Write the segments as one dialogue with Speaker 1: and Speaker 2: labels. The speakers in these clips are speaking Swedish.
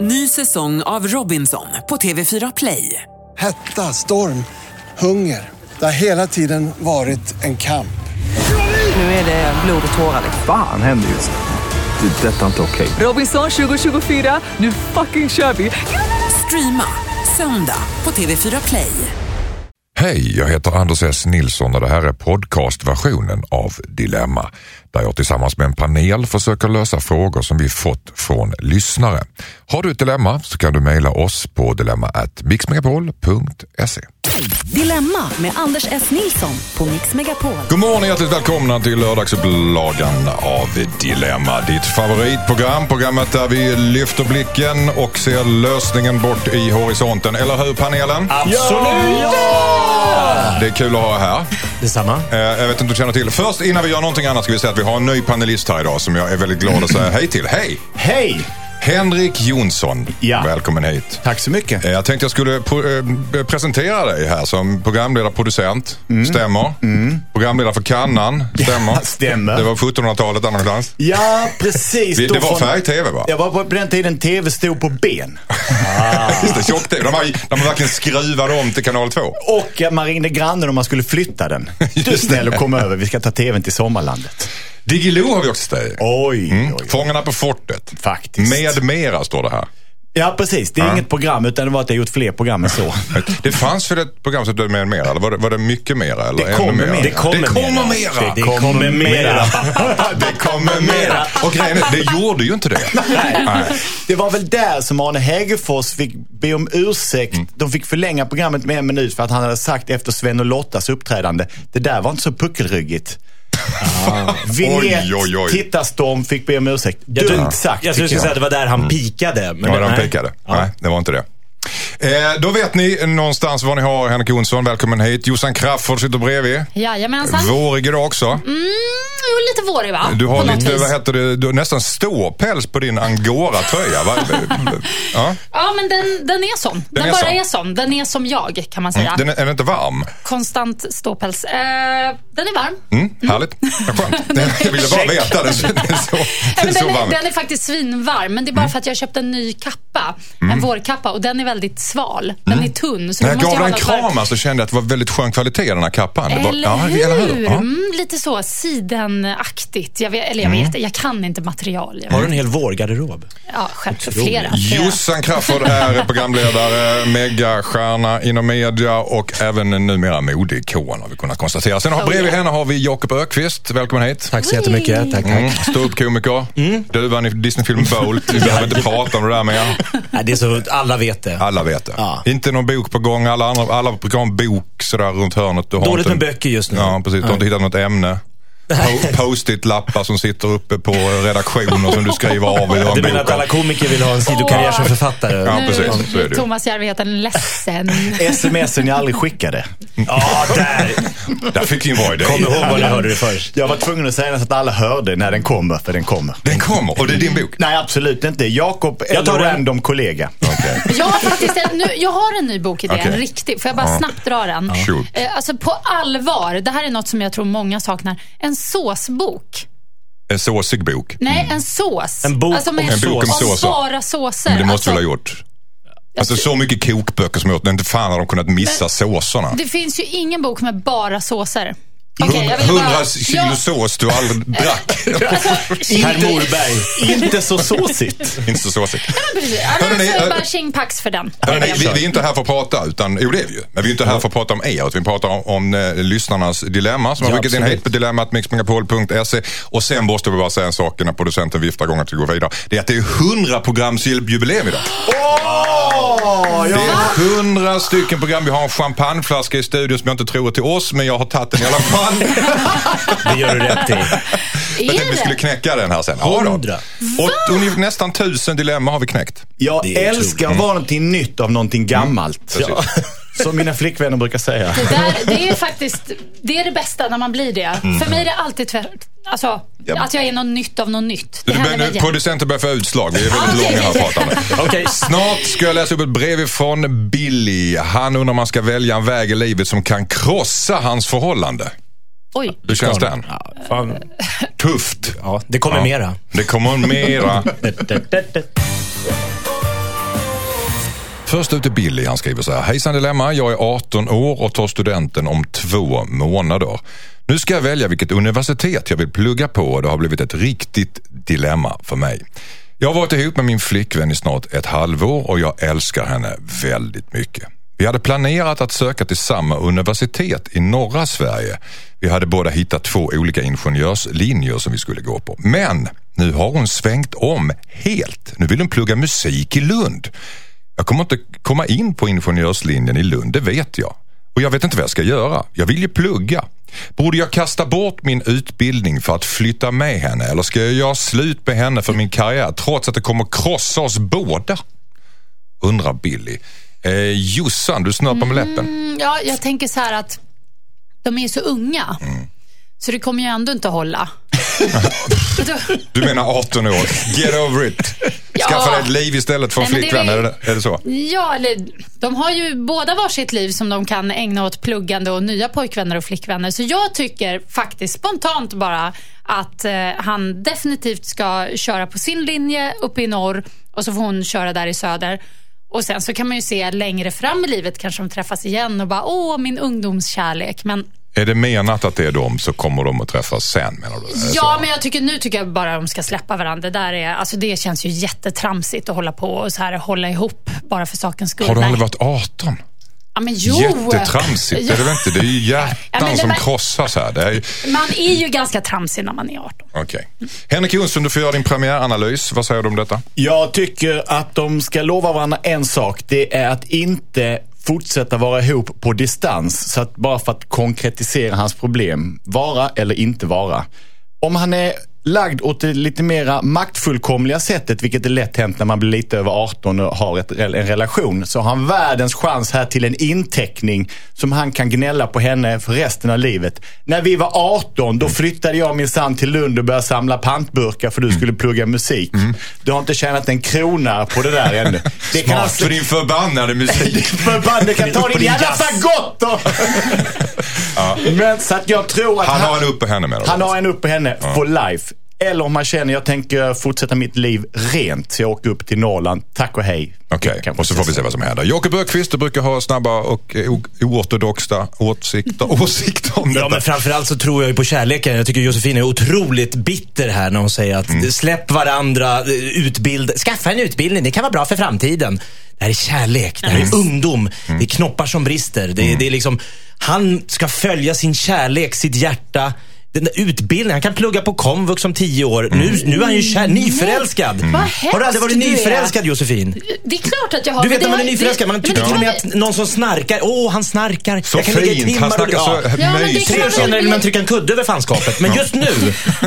Speaker 1: Ny säsong av Robinson på TV4 Play.
Speaker 2: Hetta, storm, hunger. Det har hela tiden varit en kamp.
Speaker 1: Nu är det blod och tårar.
Speaker 3: Fan händer just nu. Det. är Detta är inte okej.
Speaker 1: Robinson 2024, nu fucking kör vi! Streama söndag på TV4 Play.
Speaker 4: Hej, jag heter Anders S Nilsson och det här är podcastversionen av Dilemma där jag tillsammans med en panel försöker lösa frågor som vi fått från lyssnare. Har du ett dilemma så kan du mejla oss på dilemma@mixmegapol.se.
Speaker 5: Dilemma med Anders S. Nilsson på Mix Megapol.
Speaker 4: God morgon och hjärtligt välkomna till lördagsupplagan av Dilemma. Ditt favoritprogram, programmet där vi lyfter blicken och ser lösningen bort i horisonten. Eller hur panelen?
Speaker 6: Absolut!
Speaker 4: Det är kul att ha er här.
Speaker 6: Detsamma.
Speaker 4: Eh, Jag vet inte om du känner till. Först innan vi gör någonting annat ska vi säga att vi har en ny panelist här idag som jag är väldigt glad att säga hej till. Hej!
Speaker 6: Hej!
Speaker 4: Henrik Jonsson.
Speaker 6: Ja.
Speaker 4: Välkommen hit.
Speaker 6: Tack så mycket.
Speaker 4: Eh, Jag tänkte jag skulle pro- eh, presentera dig här som programledare, producent. Stämmer. Programledare för Kannan. Stämmer.
Speaker 6: Mm. Ja, stämmer.
Speaker 4: Det var 1700-talet annanstans.
Speaker 6: Ja, precis.
Speaker 4: Det- det
Speaker 6: Då
Speaker 4: var
Speaker 6: från-
Speaker 4: färg-tv, va?
Speaker 6: Det var på, på den tiden tv stod på ben.
Speaker 4: Just det, tjock-tv. När man, när man verkligen skruvade om till kanal 2.
Speaker 6: Och att man ringde grannen om man skulle flytta den. Du
Speaker 4: Just
Speaker 6: snäll
Speaker 4: det.
Speaker 6: och kom över, vi ska ta tvn till sommarlandet.
Speaker 4: Diggiloo har vi också till dig.
Speaker 6: Oj,
Speaker 4: Mm.
Speaker 6: oj, oj.
Speaker 4: Fångarna på fortet.
Speaker 6: Faktiskt.
Speaker 4: Med mera står det här.
Speaker 6: Ja, precis. Det är inget program utan det var att jag gjort fler program än så.
Speaker 4: Det fanns väl ett program som hette Med mera? Eller var det, var det mycket mera? Eller ännu mera?
Speaker 6: Det kommer
Speaker 4: det kommer mera!
Speaker 6: Det, det kommer mera.
Speaker 4: Det kommer mera! Och grejen är, det gjorde ju inte det. Nej.
Speaker 6: Det var väl där som Arne Hägerfors fick be om ursäkt.
Speaker 4: Mm.
Speaker 6: De fick förlänga programmet med en minut för att han hade sagt efter Sven och Lottas uppträdande, det där var inte så puckelryggigt. Vinjett,
Speaker 4: Oj, oj, oj.
Speaker 6: tittarstorm, fick be om ursäkt.
Speaker 7: Jag tror-
Speaker 6: Dumt sagt.
Speaker 7: Jag
Speaker 6: tycker
Speaker 7: skulle säga att det var där han pikade. Men
Speaker 4: Mm. Det var
Speaker 7: nej.
Speaker 4: de pekade.
Speaker 7: Ja.
Speaker 4: Nej, det var inte det. Eh, då vet ni någonstans var ni har Henrik Jonsson. Välkommen hit. Jossan Crafoord sitter bredvid.
Speaker 8: Jajamensan.
Speaker 4: Vårig idag också.
Speaker 8: Mm, jo, lite vårig va?
Speaker 4: Du har
Speaker 8: På något
Speaker 4: lite,
Speaker 8: vis.
Speaker 4: vad heter det, du har nästan ståpäls på din angora-tröja. va? ja. Mm.
Speaker 8: Ja, men den, den är sån. Den,
Speaker 4: är
Speaker 8: bara
Speaker 4: sån. Mm,
Speaker 8: är sån. Den är som jag, kan man säga.
Speaker 4: Den är, är den inte varm?
Speaker 8: Konstant ståpäls. Eh, den är varm.
Speaker 4: Mm, härligt. Vad skönt. Jag ville bara veta. Den, den, den, så,
Speaker 8: Nej,
Speaker 4: den
Speaker 8: Eh, men
Speaker 4: så Mm.
Speaker 8: den, är,
Speaker 4: varm.
Speaker 8: den är faktiskt svinvarm, men det är bara för att jag köpte en ny kappa. En vårkappa och den är väldigt sval. Den är tunn. Så
Speaker 4: När
Speaker 8: då
Speaker 4: jag gav
Speaker 8: måste
Speaker 4: Mm.
Speaker 8: ha
Speaker 4: den en
Speaker 8: något varmt.
Speaker 4: kram här så kände jag att det var väldigt skön kvalitet i den här kappan. Det var,
Speaker 8: Eller
Speaker 4: ja,
Speaker 8: hur?
Speaker 4: eller hur? Ja.
Speaker 8: Mm, lite så sidenaktigt. Jag vet, eller
Speaker 4: Mm.
Speaker 8: jag, vet, jag kan inte material. Jag
Speaker 7: Har du en hel vårgarderob?
Speaker 8: ja, själv för flera. flera.
Speaker 4: Jossan Crafoord är programledare, megastjärna inom media och även numera modeikon har vi kunnat konstatera. Sen har bredvid henne har vi Jakob Ökvist. Välkommen hit.
Speaker 7: Tack så jättemycket. Tack, Mm. tack.
Speaker 4: Mm, Ståuppkomiker. Du vann i Disneyfilmen Bolt. Vi behöver inte prata om det där mer.
Speaker 7: Nej, det är så, alla vet det.
Speaker 4: Alla vet det.
Speaker 7: Ja.
Speaker 4: Inte någon bok på gång. Alla, andra, alla brukar ha en bok sådär runt hörnet. Du har
Speaker 7: Dåligt
Speaker 4: inte-
Speaker 7: med böcker just nu.
Speaker 4: Ja, precis. Du har inte hittat något ämne. Po- Post-it-lappar som sitter uppe på eh, redaktioner som du skriver av. i
Speaker 7: Du
Speaker 4: en
Speaker 7: menar
Speaker 4: bok
Speaker 7: att alla
Speaker 4: om.
Speaker 7: komiker vill ha en sidokarriär som författare?
Speaker 4: Ja,
Speaker 8: Nu
Speaker 4: precis. Så är det
Speaker 8: blir
Speaker 4: ju.
Speaker 8: Thomas Järvheden ledsen.
Speaker 6: Smsen jag aldrig skickade.
Speaker 7: Ja, där!
Speaker 4: Där fick vi en bra idé.
Speaker 7: Kom ihåg var ni hörde det först.
Speaker 6: Jag var tvungen att säga så att alla hörde när den kommer, för den kommer.
Speaker 4: Den kommer och det är din bok.
Speaker 6: Nej, absolut inte. Jakob
Speaker 7: Jag tar
Speaker 6: eller
Speaker 7: den.
Speaker 6: random kollega.
Speaker 8: Jag har faktiskt en, nu, jag har en ny bok i det,
Speaker 4: Okej.
Speaker 8: en riktig. Får jag bara
Speaker 4: Ja.
Speaker 8: snabbt dra den?
Speaker 4: Shoot.
Speaker 8: Eh, Alltså på allvar, det här är något som jag tror många saknar. En såsbok.
Speaker 4: En såsig bok.
Speaker 8: Nej, en sås.
Speaker 7: En bok
Speaker 8: alltså, med-
Speaker 7: om En
Speaker 4: bok om såser.
Speaker 8: bara såser.
Speaker 4: Men det måste
Speaker 8: Alltså,
Speaker 4: du väl ha gjort? Alltså så mycket kokböcker som jag gjort, men inte fan har de kunnat missa såserna.
Speaker 8: Det finns ju ingen bok med bara såser. Okej, jag vill bara-
Speaker 4: Hundra kilo
Speaker 8: Ja,
Speaker 4: sås du aldrig drack.
Speaker 6: Herr Morberg. Inte så såsigt.
Speaker 4: inte så såsigt.
Speaker 8: men precis. Ja,
Speaker 4: Hörrni,
Speaker 8: men alltså,
Speaker 4: eh,
Speaker 8: bara tjingpax för den.
Speaker 4: Hörrni, vi, vi är inte här för att prata, utan, jo det är vi ju. Men vi är inte här för att prata om er, utan vi pratar om, om eh, lyssnarnas dilemma som har
Speaker 7: Ja,
Speaker 4: skickat in
Speaker 7: absolut.
Speaker 4: hit på dilemmatmixmegapol.se. Och sen måste vi bara säga en sak innan producenten viftar igång att vi går vidare. Det är att det är 100 programsjubileum idag.
Speaker 6: Åh!
Speaker 4: Det är hundra stycken program. Vi har en champagneflaska i studion som jag inte tror är till oss, men jag har tagit den i alla fall.
Speaker 7: Det gör du rätt i.
Speaker 4: jag tänkte vi
Speaker 8: Är
Speaker 4: skulle
Speaker 8: det?
Speaker 4: knäcka den här sen. Ja, då.
Speaker 7: Hundra.
Speaker 4: Och ungefär nästan tusen dilemma har vi knäckt.
Speaker 6: Jag
Speaker 7: Det är
Speaker 6: älskar att vara någonting nytt av någonting gammalt. Ja. Mm. Som mina flickvänner brukar säga.
Speaker 8: Det, där, det är faktiskt det, är det bästa när man blir det.
Speaker 4: Mm.
Speaker 8: För mig är det alltid tvärt, alltså, att jag är något nytt av något nytt. Det
Speaker 4: Du
Speaker 8: händer
Speaker 4: bör,
Speaker 8: mig
Speaker 4: nu,
Speaker 8: jämt.
Speaker 4: producenten börjar få utslag. Vi är väldigt
Speaker 8: okej,
Speaker 4: långa här
Speaker 8: okej.
Speaker 4: pratande.
Speaker 7: Okej.
Speaker 4: Snart ska jag läsa upp ett brev ifrån Billy. Han undrar om man ska välja en väg i livet som kan krossa hans förhållande.
Speaker 8: Oj.
Speaker 4: Hur känns den?
Speaker 7: Ja, fan.
Speaker 4: Tufft.
Speaker 7: Ja, det kommer mera.
Speaker 4: Det kommer mera. Först ut är Billy. Han skriver så här. Hejsan Dilemma, jag är 18 år och tar studenten om två månader. Nu ska jag välja vilket universitet jag vill plugga på och det har blivit ett riktigt dilemma för mig. Jag har varit ihop med min flickvän i snart ett halvår och jag älskar henne väldigt mycket. Vi hade planerat att söka till samma universitet i norra Sverige. Vi hade båda hittat två olika ingenjörslinjer som vi skulle gå på. Men nu har hon svängt om helt. Nu vill hon plugga musik i Lund. Jag kommer inte komma in på ingenjörslinjen i Lund, det vet jag. Och jag vet inte vad jag ska göra. Jag vill ju plugga. Borde jag kasta bort min utbildning för att flytta med henne eller ska jag göra slut med henne för min karriär trots att det kommer krossa oss båda? Undrar Billy. Eh, Jossan, du snör på med läppen.
Speaker 8: Mm, Ja, jag tänker så här att de är ju så unga. Så det kommer ju ändå inte hålla.
Speaker 4: Du menar 18 år. Get over it. Skaffa
Speaker 8: Ja.
Speaker 4: dig ett liv istället för en
Speaker 8: Nej, men det
Speaker 4: flickvän.
Speaker 8: är-
Speaker 4: Är det, är det så?
Speaker 8: Ja, eller de har ju båda varsitt liv som de kan ägna åt pluggande och nya pojkvänner och flickvänner. Så jag tycker faktiskt spontant bara att eh, han definitivt ska köra på sin linje uppe i norr och så får hon köra där i söder. Och sen så kan man ju se längre fram i livet kanske de träffas igen och bara åh, min ungdomskärlek. Men
Speaker 4: Är det menat att det är de så kommer de att träffas sen menar du? Är det
Speaker 8: Ja,
Speaker 4: så?
Speaker 8: men jag tycker, nu tycker jag bara de ska släppa varandra. Det, där är, alltså, det känns ju jättetramsigt att hålla på och så här, hålla ihop bara för sakens skull.
Speaker 4: Har du
Speaker 8: Nej.
Speaker 4: aldrig varit 18?
Speaker 8: ja, men, jo.
Speaker 4: Jättetramsigt
Speaker 8: Ja,
Speaker 4: är det väl inte? Det är ju hjärtan
Speaker 8: Ja, men det
Speaker 4: som
Speaker 8: var-
Speaker 4: krossas här. Det är... ju-
Speaker 8: Man är ju ganska tramsig när man är 18.
Speaker 4: Okej. Henrik Jonsson, du får göra din premiäranalys. Vad säger du om detta?
Speaker 6: Jag tycker att de ska lova varandra en sak. Det är att inte fortsätta vara ihop på distans. Så att bara för att konkretisera hans problem. Vara eller inte vara. Om han är lagd åt det lite mera maktfullkomliga sättet, vilket är lätt hänt när man blir lite över 18 och har ett, en relation, så har han världens chans här till en inteckning som han kan gnälla på henne för resten av livet. När vi var 18, då flyttade jag minsann till Lund och började samla pantburkar för du skulle plugga musik.
Speaker 4: Mm.
Speaker 6: Du har inte tjänat en krona på det där ännu. Det kan alltså...
Speaker 4: din förbannade musik.
Speaker 6: Förbannade kan ta
Speaker 7: Upp
Speaker 6: din
Speaker 7: din
Speaker 6: jävla
Speaker 7: jazz.
Speaker 6: fagott! då! Men så att jag tror att
Speaker 4: Han har en upp på henne menar du?
Speaker 6: han har en upp på henne for life. Eller om man känner, jag tänker fortsätta mitt liv rent. Så jag åker upp till Norrland. Tack och hej.
Speaker 4: Okej,
Speaker 6: Kanske
Speaker 4: och så får vi se vad som händer. Jakob Ökvist, du brukar ha snabba och eh, o- oortodoxa åsikter, åsikter om
Speaker 7: Ja, men
Speaker 4: detta.
Speaker 7: framförallt så tror jag ju på kärleken. Jag tycker Josefin är otroligt bitter här när hon säger att
Speaker 8: Mm.
Speaker 7: släpp varandra, eh, utbilda, skaffa en utbildning, det kan vara bra för framtiden. Det här är kärlek, det här
Speaker 8: Mm.
Speaker 7: är ungdom, det är knoppar som brister. Det, det är liksom, han ska följa sin kärlek, sitt hjärta. Den där utbildningen, han kan plugga på komvux om tio år. Nu, nu är han ju kär, nyförälskad.
Speaker 8: Mm. Vad
Speaker 7: Har du aldrig
Speaker 8: hemskt
Speaker 7: varit
Speaker 8: du är.
Speaker 7: nyförälskad Josefin?
Speaker 8: Det är klart att jag har.
Speaker 7: Du vet
Speaker 8: men
Speaker 7: när
Speaker 8: det
Speaker 7: man är
Speaker 8: har-
Speaker 7: nyförälskad, man
Speaker 8: det- men
Speaker 7: tycker
Speaker 8: det
Speaker 7: till och
Speaker 8: har-
Speaker 7: med att någon som snarkar, åh han snarkar.
Speaker 4: Så
Speaker 7: jag kan ligga i
Speaker 4: fint, han
Speaker 7: timmar
Speaker 4: snackar
Speaker 7: och-
Speaker 4: så
Speaker 7: Ja.
Speaker 8: Ja, men det är
Speaker 4: möjligt.
Speaker 8: klart.
Speaker 7: Tre år senare vill man trycka en kudde över fanskapet, men just nu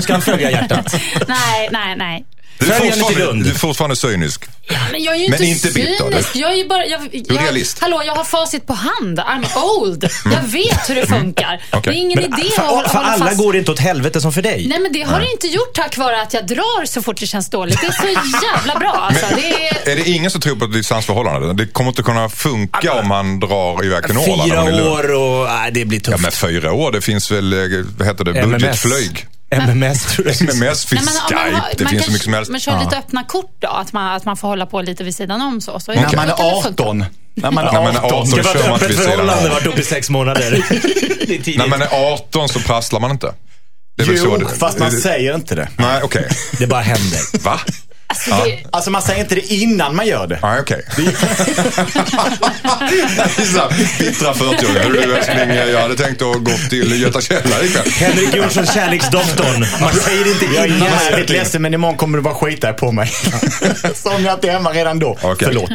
Speaker 7: ska han följa hjärtat.
Speaker 8: Nej, nej, nej.
Speaker 4: Du är
Speaker 7: Följ henne till
Speaker 4: fortfarande,
Speaker 7: Lund.
Speaker 4: du är fortfarande cynisk.
Speaker 8: Men jag är ju
Speaker 4: Men
Speaker 8: inte,
Speaker 4: inte bitter,
Speaker 8: cynisk. Jag är ju bara... Jag, jag,
Speaker 4: realist. Mm.
Speaker 8: Hallå, jag har facit på hand. I'm old. Jag vet hur det funkar. Det är ingen idé att
Speaker 7: för,
Speaker 8: hålla,
Speaker 7: för
Speaker 8: hålla
Speaker 7: alla
Speaker 8: fast.
Speaker 7: går det inte åt helvete som för dig.
Speaker 8: Nej, men det har det inte gjort tack vare att jag drar så fort det känns dåligt. Det är så jävla bra. Alltså. Det är...
Speaker 4: Är det ingen som tror på ett distansförhållande? Det kommer inte kunna funka om man drar iväg till Norrland. när man är i
Speaker 7: Fyra
Speaker 4: Lund.
Speaker 7: år och... Nej, det blir
Speaker 4: Ja,
Speaker 7: tufft.
Speaker 4: men fyra år, det finns väl, eh, vad heter det, budgetflyg?
Speaker 7: MMS tror jag.
Speaker 4: MMS finns
Speaker 8: om
Speaker 4: Skype,
Speaker 8: har-
Speaker 4: det
Speaker 8: man
Speaker 4: finns
Speaker 8: kan-
Speaker 4: så mycket som helst.
Speaker 8: Man kör lite öppna kort då, att man, att man får hålla på lite vid sidan om så. så
Speaker 6: När man
Speaker 8: kan det
Speaker 6: är
Speaker 8: funka.
Speaker 6: 18. När man
Speaker 4: När man
Speaker 6: är
Speaker 4: är
Speaker 6: 18.
Speaker 7: Det var
Speaker 4: kör
Speaker 7: ett
Speaker 4: man
Speaker 7: öppet
Speaker 4: vid sidan
Speaker 7: förhållande,
Speaker 4: om.
Speaker 7: varit ihop i sex månader. Det är tidigt.
Speaker 4: När man är 18 så prasslar man inte. Det är väl så
Speaker 6: Jo,
Speaker 4: det-
Speaker 6: fast man
Speaker 4: det-
Speaker 6: säger inte det.
Speaker 4: Nej, okej.
Speaker 7: Det bara händer.
Speaker 4: Va?
Speaker 8: Alltså, det,
Speaker 6: Alltså man säger inte det innan man gör det.
Speaker 4: Nej, okej. Så här, Bittra 40-åringar. Du älskling, jag hade tänkt att gå till Göta källare ikväll.
Speaker 7: Henrik Jonsson, kärleksdoktorn. Man säger inte
Speaker 6: Jag är
Speaker 7: innan man säger
Speaker 6: jävligt
Speaker 7: det.
Speaker 6: ledsen men imorgon kommer du bara skita på mig. Som jag inte är hemma redan då.
Speaker 4: Okej.
Speaker 6: Förlåt.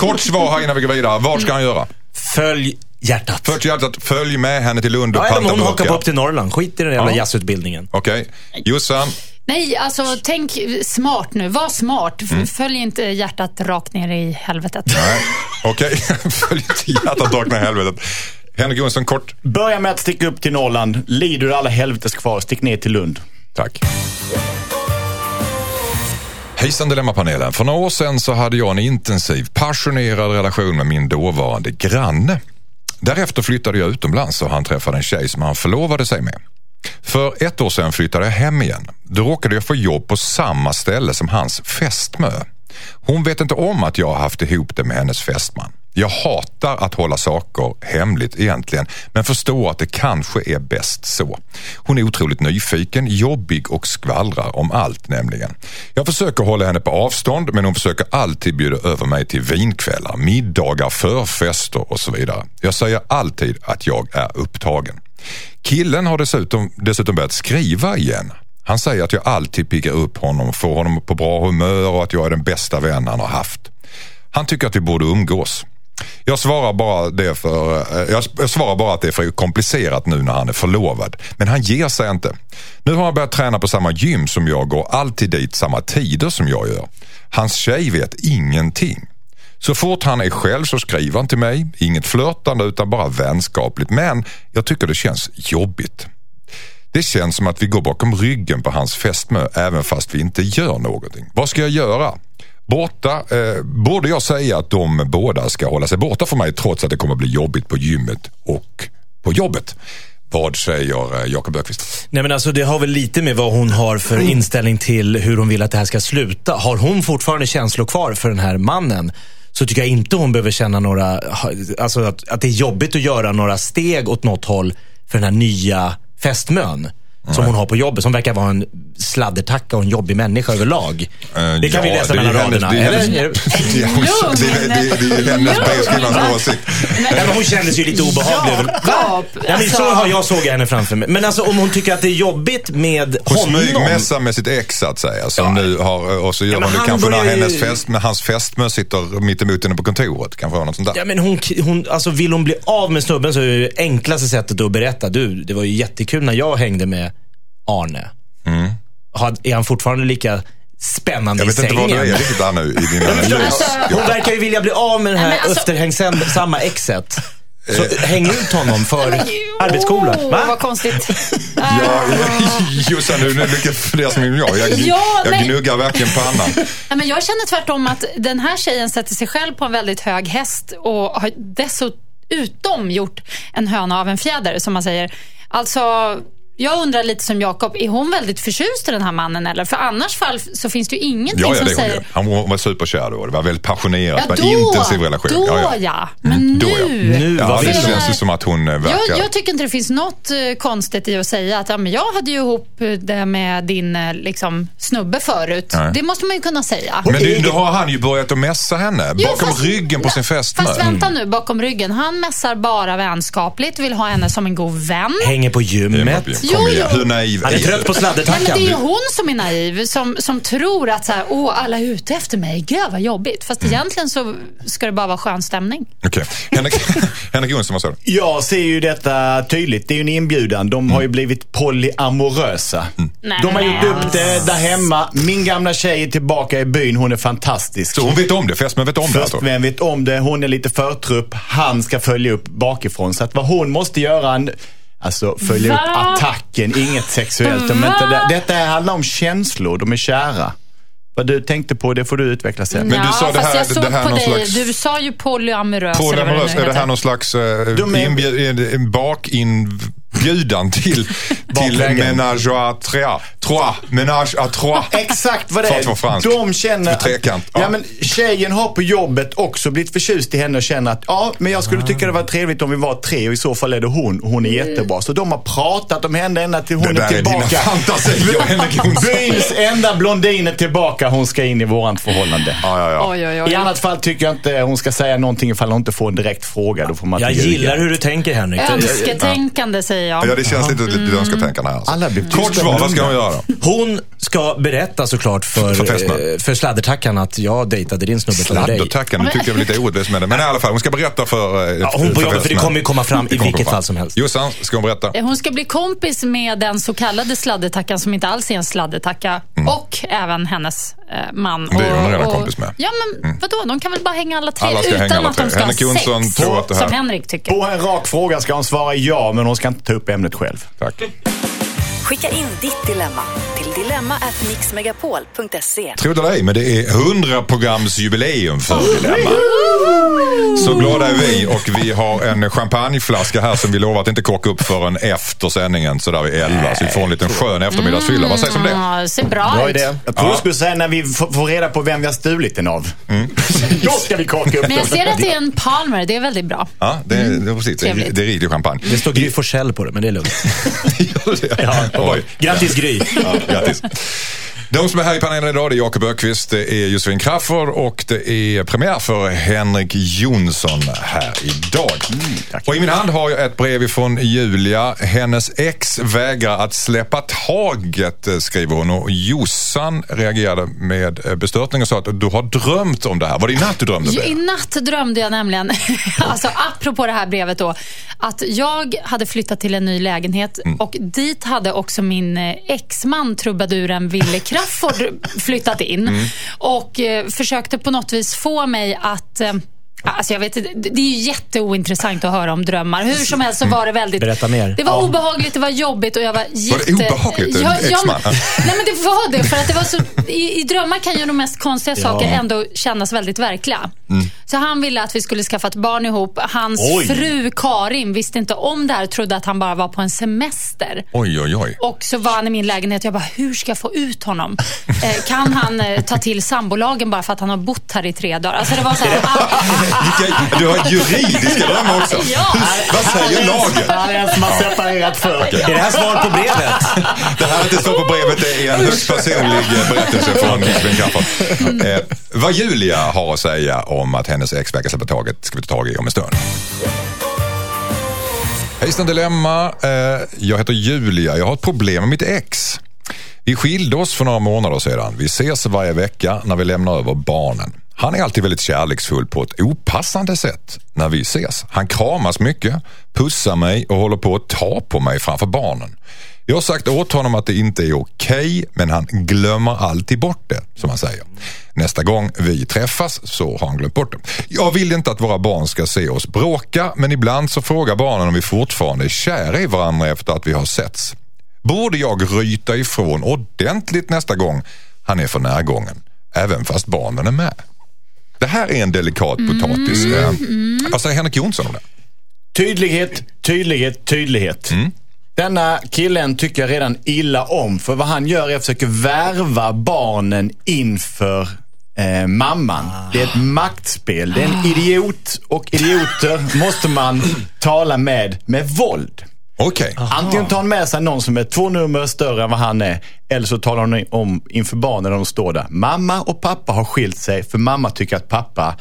Speaker 4: Kort svar här innan vi går vidare. Vad ska han göra?
Speaker 7: Följ hjärtat.
Speaker 4: Först hjärtat, följ med henne till Lund och
Speaker 7: Ja, eller om
Speaker 4: panta
Speaker 7: hon hoppar
Speaker 4: burkar.
Speaker 7: upp till Norrland. Skit i den jävla
Speaker 4: Ja.
Speaker 7: jazzutbildningen.
Speaker 4: Okej. Jossan,
Speaker 8: nej, alltså tänk smart nu. Var smart. F- Följ inte hjärtat rakt ner i helvetet.
Speaker 4: Mm. Nej, okej. Följ inte hjärtat vakna i helvetet. Henrik Jonsson, kort.
Speaker 6: Börja med att sticka upp till Norrland. Lider du alla helvetes kvar, stick ner till Lund.
Speaker 4: Tack. Hejsan Dilemmapanelen. För några år sedan så hade jag en intensiv, passionerad relation med min dåvarande granne. Därefter flyttade jag utomlands och han träffade en tjej som han förlovade sig med. För ett år sedan flyttade jag hem igen. Då råkade jag få jobb på samma ställe som hans fästmö. Hon vet inte om att jag har haft ihop det med hennes fästman. Jag hatar att hålla saker hemligt egentligen, men förstår att det kanske är bäst så. Hon är otroligt nyfiken, jobbig och skvallrar om allt nämligen. Jag försöker hålla henne på avstånd, men hon försöker alltid bjuda över mig till vinkvällar, middagar, förfester och så vidare. Jag säger alltid att jag är upptagen. Killen har dessutom, dessutom börjat skriva igen. Han säger att jag alltid piggar upp honom, får honom på bra humör och att jag är den bästa vän han har haft. Han tycker att vi borde umgås. Jag svarar, bara det för, eh, jag, jag svarar bara att det är för komplicerat nu när han är förlovad. Men han ger sig inte. Nu har han börjat träna på samma gym som jag går alltid dit samma tider som jag gör. Hans tjej vet ingenting. Så fort han är själv så skriver han till mig. Inget flörtande utan bara vänskapligt. Men jag tycker det känns jobbigt. Det känns som att vi går bakom ryggen på hans fästmö även fast vi inte gör någonting. Vad ska jag göra? Borta, eh, borde jag säga att de båda ska hålla sig borta från mig trots att det kommer bli jobbigt på gymmet och på jobbet? Vad säger eh, Jakob Ökvist?
Speaker 7: Nej men alltså det har väl lite med vad hon har för
Speaker 4: Mm.
Speaker 7: inställning till hur hon vill att det här ska sluta. Har hon fortfarande känslor kvar för den här mannen så tycker jag inte hon behöver känna några, ha- alltså att, att det är jobbigt att göra några steg åt något håll för den här nya fästmön. Som hon har på jobbet, som verkar vara en sladdertacka och en jobbig människa överlag. det kan vi läsa mellan raderna.
Speaker 4: Eh, Det är hennes, det
Speaker 7: eller?
Speaker 4: är
Speaker 7: Är det-
Speaker 4: hennes, det är- det är- det är hennes brevskrivarens åsikt.
Speaker 7: Nej, men hon kändes ju lite obehaglig. över-
Speaker 8: Jakob,
Speaker 7: Nej, men så
Speaker 8: alltså.
Speaker 7: har jag såg henne framför mig. Men alltså om hon tycker att det är jobbigt med
Speaker 4: Hon
Speaker 7: honom.
Speaker 4: smygmässar med sitt ex så att säga. Som nu har, eh, och så gör
Speaker 7: Ja, men
Speaker 4: hon det
Speaker 7: han
Speaker 4: kanske när
Speaker 7: börjar ju-
Speaker 4: hennes fest, när hans fästmö sitter mittemot henne på kontoret. Kanske har något sånt där.
Speaker 7: Ja, men hon, hon, alltså vill hon bli av med snubben så är det ju enklaste sättet att berätta. Du, det var ju jättekul när jag hängde med Arne. Har, är han fortfarande lika spännande
Speaker 4: Mm. jag
Speaker 7: i
Speaker 4: vet inte
Speaker 7: sängen?
Speaker 4: vad det är
Speaker 8: Alltså-
Speaker 4: riktigt där nu i din analys.
Speaker 7: Hon verkar ju vilja bli av med det här
Speaker 8: Nej, men alltså-
Speaker 7: efterhängsamma exet. Så
Speaker 4: Eh.
Speaker 7: häng ut honom för
Speaker 8: Jo,
Speaker 7: arbetskolor.
Speaker 8: Vad
Speaker 7: Va?
Speaker 8: konstigt.
Speaker 4: Ja, Jossan, du är mycket fler som är jag. Jag,
Speaker 8: Ja,
Speaker 4: jag
Speaker 8: nej.
Speaker 4: gnuggar verkligen pannan.
Speaker 8: Nej, men jag känner tvärtom att den här tjejen sätter sig själv på en väldigt hög häst och har dessutom gjort en höna av en fjäder, som man säger. Alltså, jag undrar lite som Jakob, är hon väldigt förtjust i den här mannen eller? För annars fall så finns det ju ingenting
Speaker 4: Ja, ja,
Speaker 8: som
Speaker 4: det är hon ju.
Speaker 8: säger...
Speaker 4: Han var- var superkär då. Det var väldigt passionerat.
Speaker 8: Ja,
Speaker 4: det var
Speaker 8: då,
Speaker 4: en intensiv relation.
Speaker 8: Då
Speaker 4: ja,
Speaker 8: ja.
Speaker 4: ja.
Speaker 8: Men
Speaker 4: Då, ja.
Speaker 8: nu...
Speaker 7: Nu,
Speaker 4: Ja,
Speaker 7: vad
Speaker 4: det
Speaker 7: vill
Speaker 8: så-
Speaker 7: hon?
Speaker 4: känns ju som att hon eh, verkar...
Speaker 8: Jag, jag tycker inte det finns något eh, konstigt i att säga att ja, men jag hade ju ihop eh, det med din eh, liksom, snubbe förut.
Speaker 4: Nej.
Speaker 8: Det måste man ju kunna säga.
Speaker 4: men nu, nu har han ju börjat att mässa henne
Speaker 8: Jo,
Speaker 4: bakom
Speaker 8: fast-
Speaker 4: ryggen på
Speaker 8: Ja,
Speaker 4: sin fästmö. Mm.
Speaker 8: Fast vänta nu, bakom ryggen. Han mässar bara vänskapligt, vill ha henne som en god vän.
Speaker 7: Hänger på gymmet.
Speaker 4: Kom
Speaker 8: Jo,
Speaker 4: igen.
Speaker 8: jo.
Speaker 4: Hur naiv
Speaker 7: Han är
Speaker 4: du?
Speaker 7: trött på
Speaker 8: Nej, men det är ju
Speaker 7: sladdertackan.
Speaker 8: hon som är naiv, som, som tror att så här, Åh, alla är ute efter mig. Gud, vad jobbigt.
Speaker 4: Mm.
Speaker 8: Fast egentligen så ska det bara vara skön stämning.
Speaker 4: Okej. Henrik, Henrik Jonsson, vad sa du?
Speaker 6: Jag ser ju detta tydligt. Det är ju en inbjudan. De
Speaker 4: Mm.
Speaker 6: har ju blivit polyamorösa. Mm.
Speaker 8: Nej,
Speaker 6: De har
Speaker 8: men-
Speaker 6: gjort upp det där hemma. Min gamla tjej är tillbaka i byn. Hon är fantastisk.
Speaker 4: Så hon vet om det? Fästmön vet om det? Alltså.
Speaker 6: Fästmän vet om det. Hon är lite förtrupp. Han ska följa upp bakifrån. Så att vad hon måste göra... En, Alltså följa
Speaker 8: Va?
Speaker 6: upp attacken, inget sexuellt. De är inte där. Detta handlar om känslor, de är kära. Vad du tänkte på, det får du utveckla sen.
Speaker 4: Men du sa det
Speaker 8: fast
Speaker 4: här-
Speaker 8: jag såg
Speaker 4: det här
Speaker 8: på
Speaker 4: någon
Speaker 8: dig.
Speaker 4: slags-
Speaker 8: Du sa ju polyamorös. eller vad det nu
Speaker 4: Polyamorös, är det här
Speaker 8: heter.
Speaker 4: någon slags eh,
Speaker 6: De är-
Speaker 4: inbjud, en- en bakinbjudan till, till
Speaker 6: Bakvägen.
Speaker 4: Ménage à trois? trois. Ménage à trois.
Speaker 6: Exakt vad det
Speaker 4: För att vara fransk.
Speaker 6: är. De känner...
Speaker 4: För trekant, ja.
Speaker 6: ja. men tjejen har på jobbet också blivit förtjust i henne och känner att ja, men jag skulle tycka det var trevligt om vi var tre och i så fall är det hon. Hon är
Speaker 4: Mm.
Speaker 6: jättebra. Så de har pratat om henne ända till hon
Speaker 4: Det
Speaker 6: är
Speaker 4: där är dina
Speaker 6: tillbaka.
Speaker 4: fantasier, Henrik Jonsson.
Speaker 6: Byns enda blondin är tillbaka. Hon ska in i vårant förhållande.
Speaker 4: Ja, ja, ja.
Speaker 8: Oj, oj,
Speaker 6: I
Speaker 8: oj.
Speaker 6: annat fall tycker jag inte hon ska säga någonting ifall hon inte får en direkt fråga. Då får man
Speaker 7: Jag
Speaker 6: inte ljuga.
Speaker 7: gillar hur du tänker Henrik.
Speaker 8: Önsketänkande, säger jag.
Speaker 4: Ja, det känns lite, lite önsketänkande här. alltså.
Speaker 6: Alla blir tysta
Speaker 4: Kort svar,
Speaker 6: och
Speaker 4: vad ska
Speaker 6: lugna.
Speaker 4: hon göra?
Speaker 7: Hon ska berätta såklart för,
Speaker 4: För fästmön.
Speaker 7: eh, för sladdertackan att jag dejtade din snubbe före dig.
Speaker 4: Sladdertackan, nu tyckte jag väl lite orättvist med det. Men i alla fall, hon ska berätta för... eh,
Speaker 7: Ja, hon på jobbet, för det
Speaker 4: resten.
Speaker 7: kommer ju komma fram i
Speaker 4: Det kommer
Speaker 7: vilket
Speaker 4: komma
Speaker 7: fall som helst.
Speaker 4: Jossan, ska hon berätta?
Speaker 8: Eh, Hon ska bli kompis med den så kallade sladdertackan som inte alls är en sladdertacka och även hennes eh, man.
Speaker 4: Mm. Det är hon
Speaker 8: Och-
Speaker 4: redan
Speaker 8: och-
Speaker 4: kompis med. Mm.
Speaker 8: Ja, men vadå? De kan väl bara hänga alla tre
Speaker 4: Alla ska
Speaker 8: utan
Speaker 4: hänga alla
Speaker 8: att
Speaker 4: tre.
Speaker 8: de ska
Speaker 4: Henrik
Speaker 8: ha
Speaker 4: Jonsson
Speaker 8: sex,
Speaker 4: tror att det här-
Speaker 8: som Henrik tycker.
Speaker 6: På en rak fråga ska hon svara ja, men hon ska inte ta upp ämnet själv.
Speaker 4: Tack.
Speaker 5: Skicka in ditt dilemma till dilemma@mixmegapol.se.
Speaker 4: Tro det eller ej, men det är 100 programsjubileum för Dilemma. Så glada är vi och vi har en champagneflaska här som vi lovar att inte korka upp förrän efter sändningen så där vid 11. Så vi får en liten skön eftermiddagsfylla. Vad sägs om det?
Speaker 8: Ja, det ser bra,
Speaker 6: Bra
Speaker 8: ut.
Speaker 6: idé. Jag tror du skulle säga när vi f- får reda på vem vi har stulit den av. Då ska vi kaka upp
Speaker 8: Men jag
Speaker 6: den.
Speaker 8: ser att det är en Palmer, det är väldigt bra.
Speaker 4: Ja, det, det, precis. det,
Speaker 8: Trevligt.
Speaker 4: det är riktig champagne.
Speaker 7: Det står Gry Forssell på det, men det är lugnt.
Speaker 4: Gör det? Oj.
Speaker 7: Grattis Gry!
Speaker 4: Ja, grattis. De som är här i panelen idag det är Jakob Ökvist, det är Josefin Crafoord och det är premiär för Henrik Jonsson här idag. och i min hand har jag ett brev ifrån Julia. Hennes ex vägrar att släppa taget eh, skriver hon och Jossan reagerade med eh, bestörtning och sa att du har drömt om det här. Var det i natt du drömde om
Speaker 8: Jo, I
Speaker 4: det?
Speaker 8: natt drömde jag nämligen, alltså apropå det här brevet då, att jag hade flyttat till en ny lägenhet
Speaker 4: Mm.
Speaker 8: och dit hade också min eh, exman, trubaduren Wille Crafoord, flyttat in
Speaker 4: Mm.
Speaker 8: och eh, försökte på något vis få mig att eh, Alltså jag vet, inte, det det är ju jätteointressant att höra om drömmar. Hur som helst så var det väldigt...
Speaker 7: Berätta mer.
Speaker 8: Det var obehagligt, det var jobbigt och jag var jätte...
Speaker 4: obehagligt? En
Speaker 8: Ja, ja,
Speaker 4: exman?
Speaker 8: men- Nej men det var det. För att det var så, i, I drömmar kan ju de mest konstiga saker ändå kännas väldigt verkliga. Så han ville att vi skulle skaffa ett barn ihop. Hans
Speaker 6: Oj.
Speaker 8: fru Karin visste inte om det här och trodde att han bara var på en semester.
Speaker 4: Oj, oj, oj.
Speaker 8: Och så var han i min lägenhet och jag bara, hur ska jag få ut honom? Eh, kan han eh, ta till sambolagen bara för att han har bott här i tre dagar? Alltså det var så här,
Speaker 4: Vilka- Du har juridiska drömmar också.
Speaker 8: Ah. Ja.
Speaker 4: Vad säger lagen?
Speaker 6: Han är en som har separerat förr.
Speaker 7: Är det här svar på brevet?
Speaker 4: Det här att det står på brevet det är en högst personlig eh, berättelse från Josefin Crafoord. Eh, vad Julia har att säga om att hennes ex verkar släppa taget ska vi ta tag i om en stund. Hejsan Dilemma, eh, jag heter Julia. Jag har ett problem med mitt ex. Vi skilde oss för några månader sedan. Vi ses varje vecka när vi lämnar över barnen. Han är alltid väldigt kärleksfull på ett opassande sätt när vi ses. Han kramas mycket, pussar mig och håller på att ta på mig framför barnen. Jag har sagt åt honom att det inte är okej, men han glömmer alltid bort det, som han säger. Nästa gång vi träffas så har han glömt bort det. Jag vill inte att våra barn ska se oss bråka, men ibland så frågar barnen om vi fortfarande är kära i varandra efter att vi har setts borde jag ryta ifrån ordentligt nästa gång han är för närgången. Även fast barnen är med. Det här är en delikat
Speaker 6: Mm.
Speaker 4: potatis. Eh, Vad säger Henrik Jonsson om det?
Speaker 6: Tydlighet, tydlighet, tydlighet. Denna killen tycker jag redan illa om. För vad han gör är att försöka värva barnen inför eh, mamman. Det är ett maktspel. Det är en idiot och idioter måste man tala med med våld.
Speaker 4: Okej.
Speaker 6: Antingen tar han med sig någon som är två nummer större än vad han är. Eller så talar hon om inför barnen när de står där. Mamma och pappa har skilt sig för mamma tycker att pappa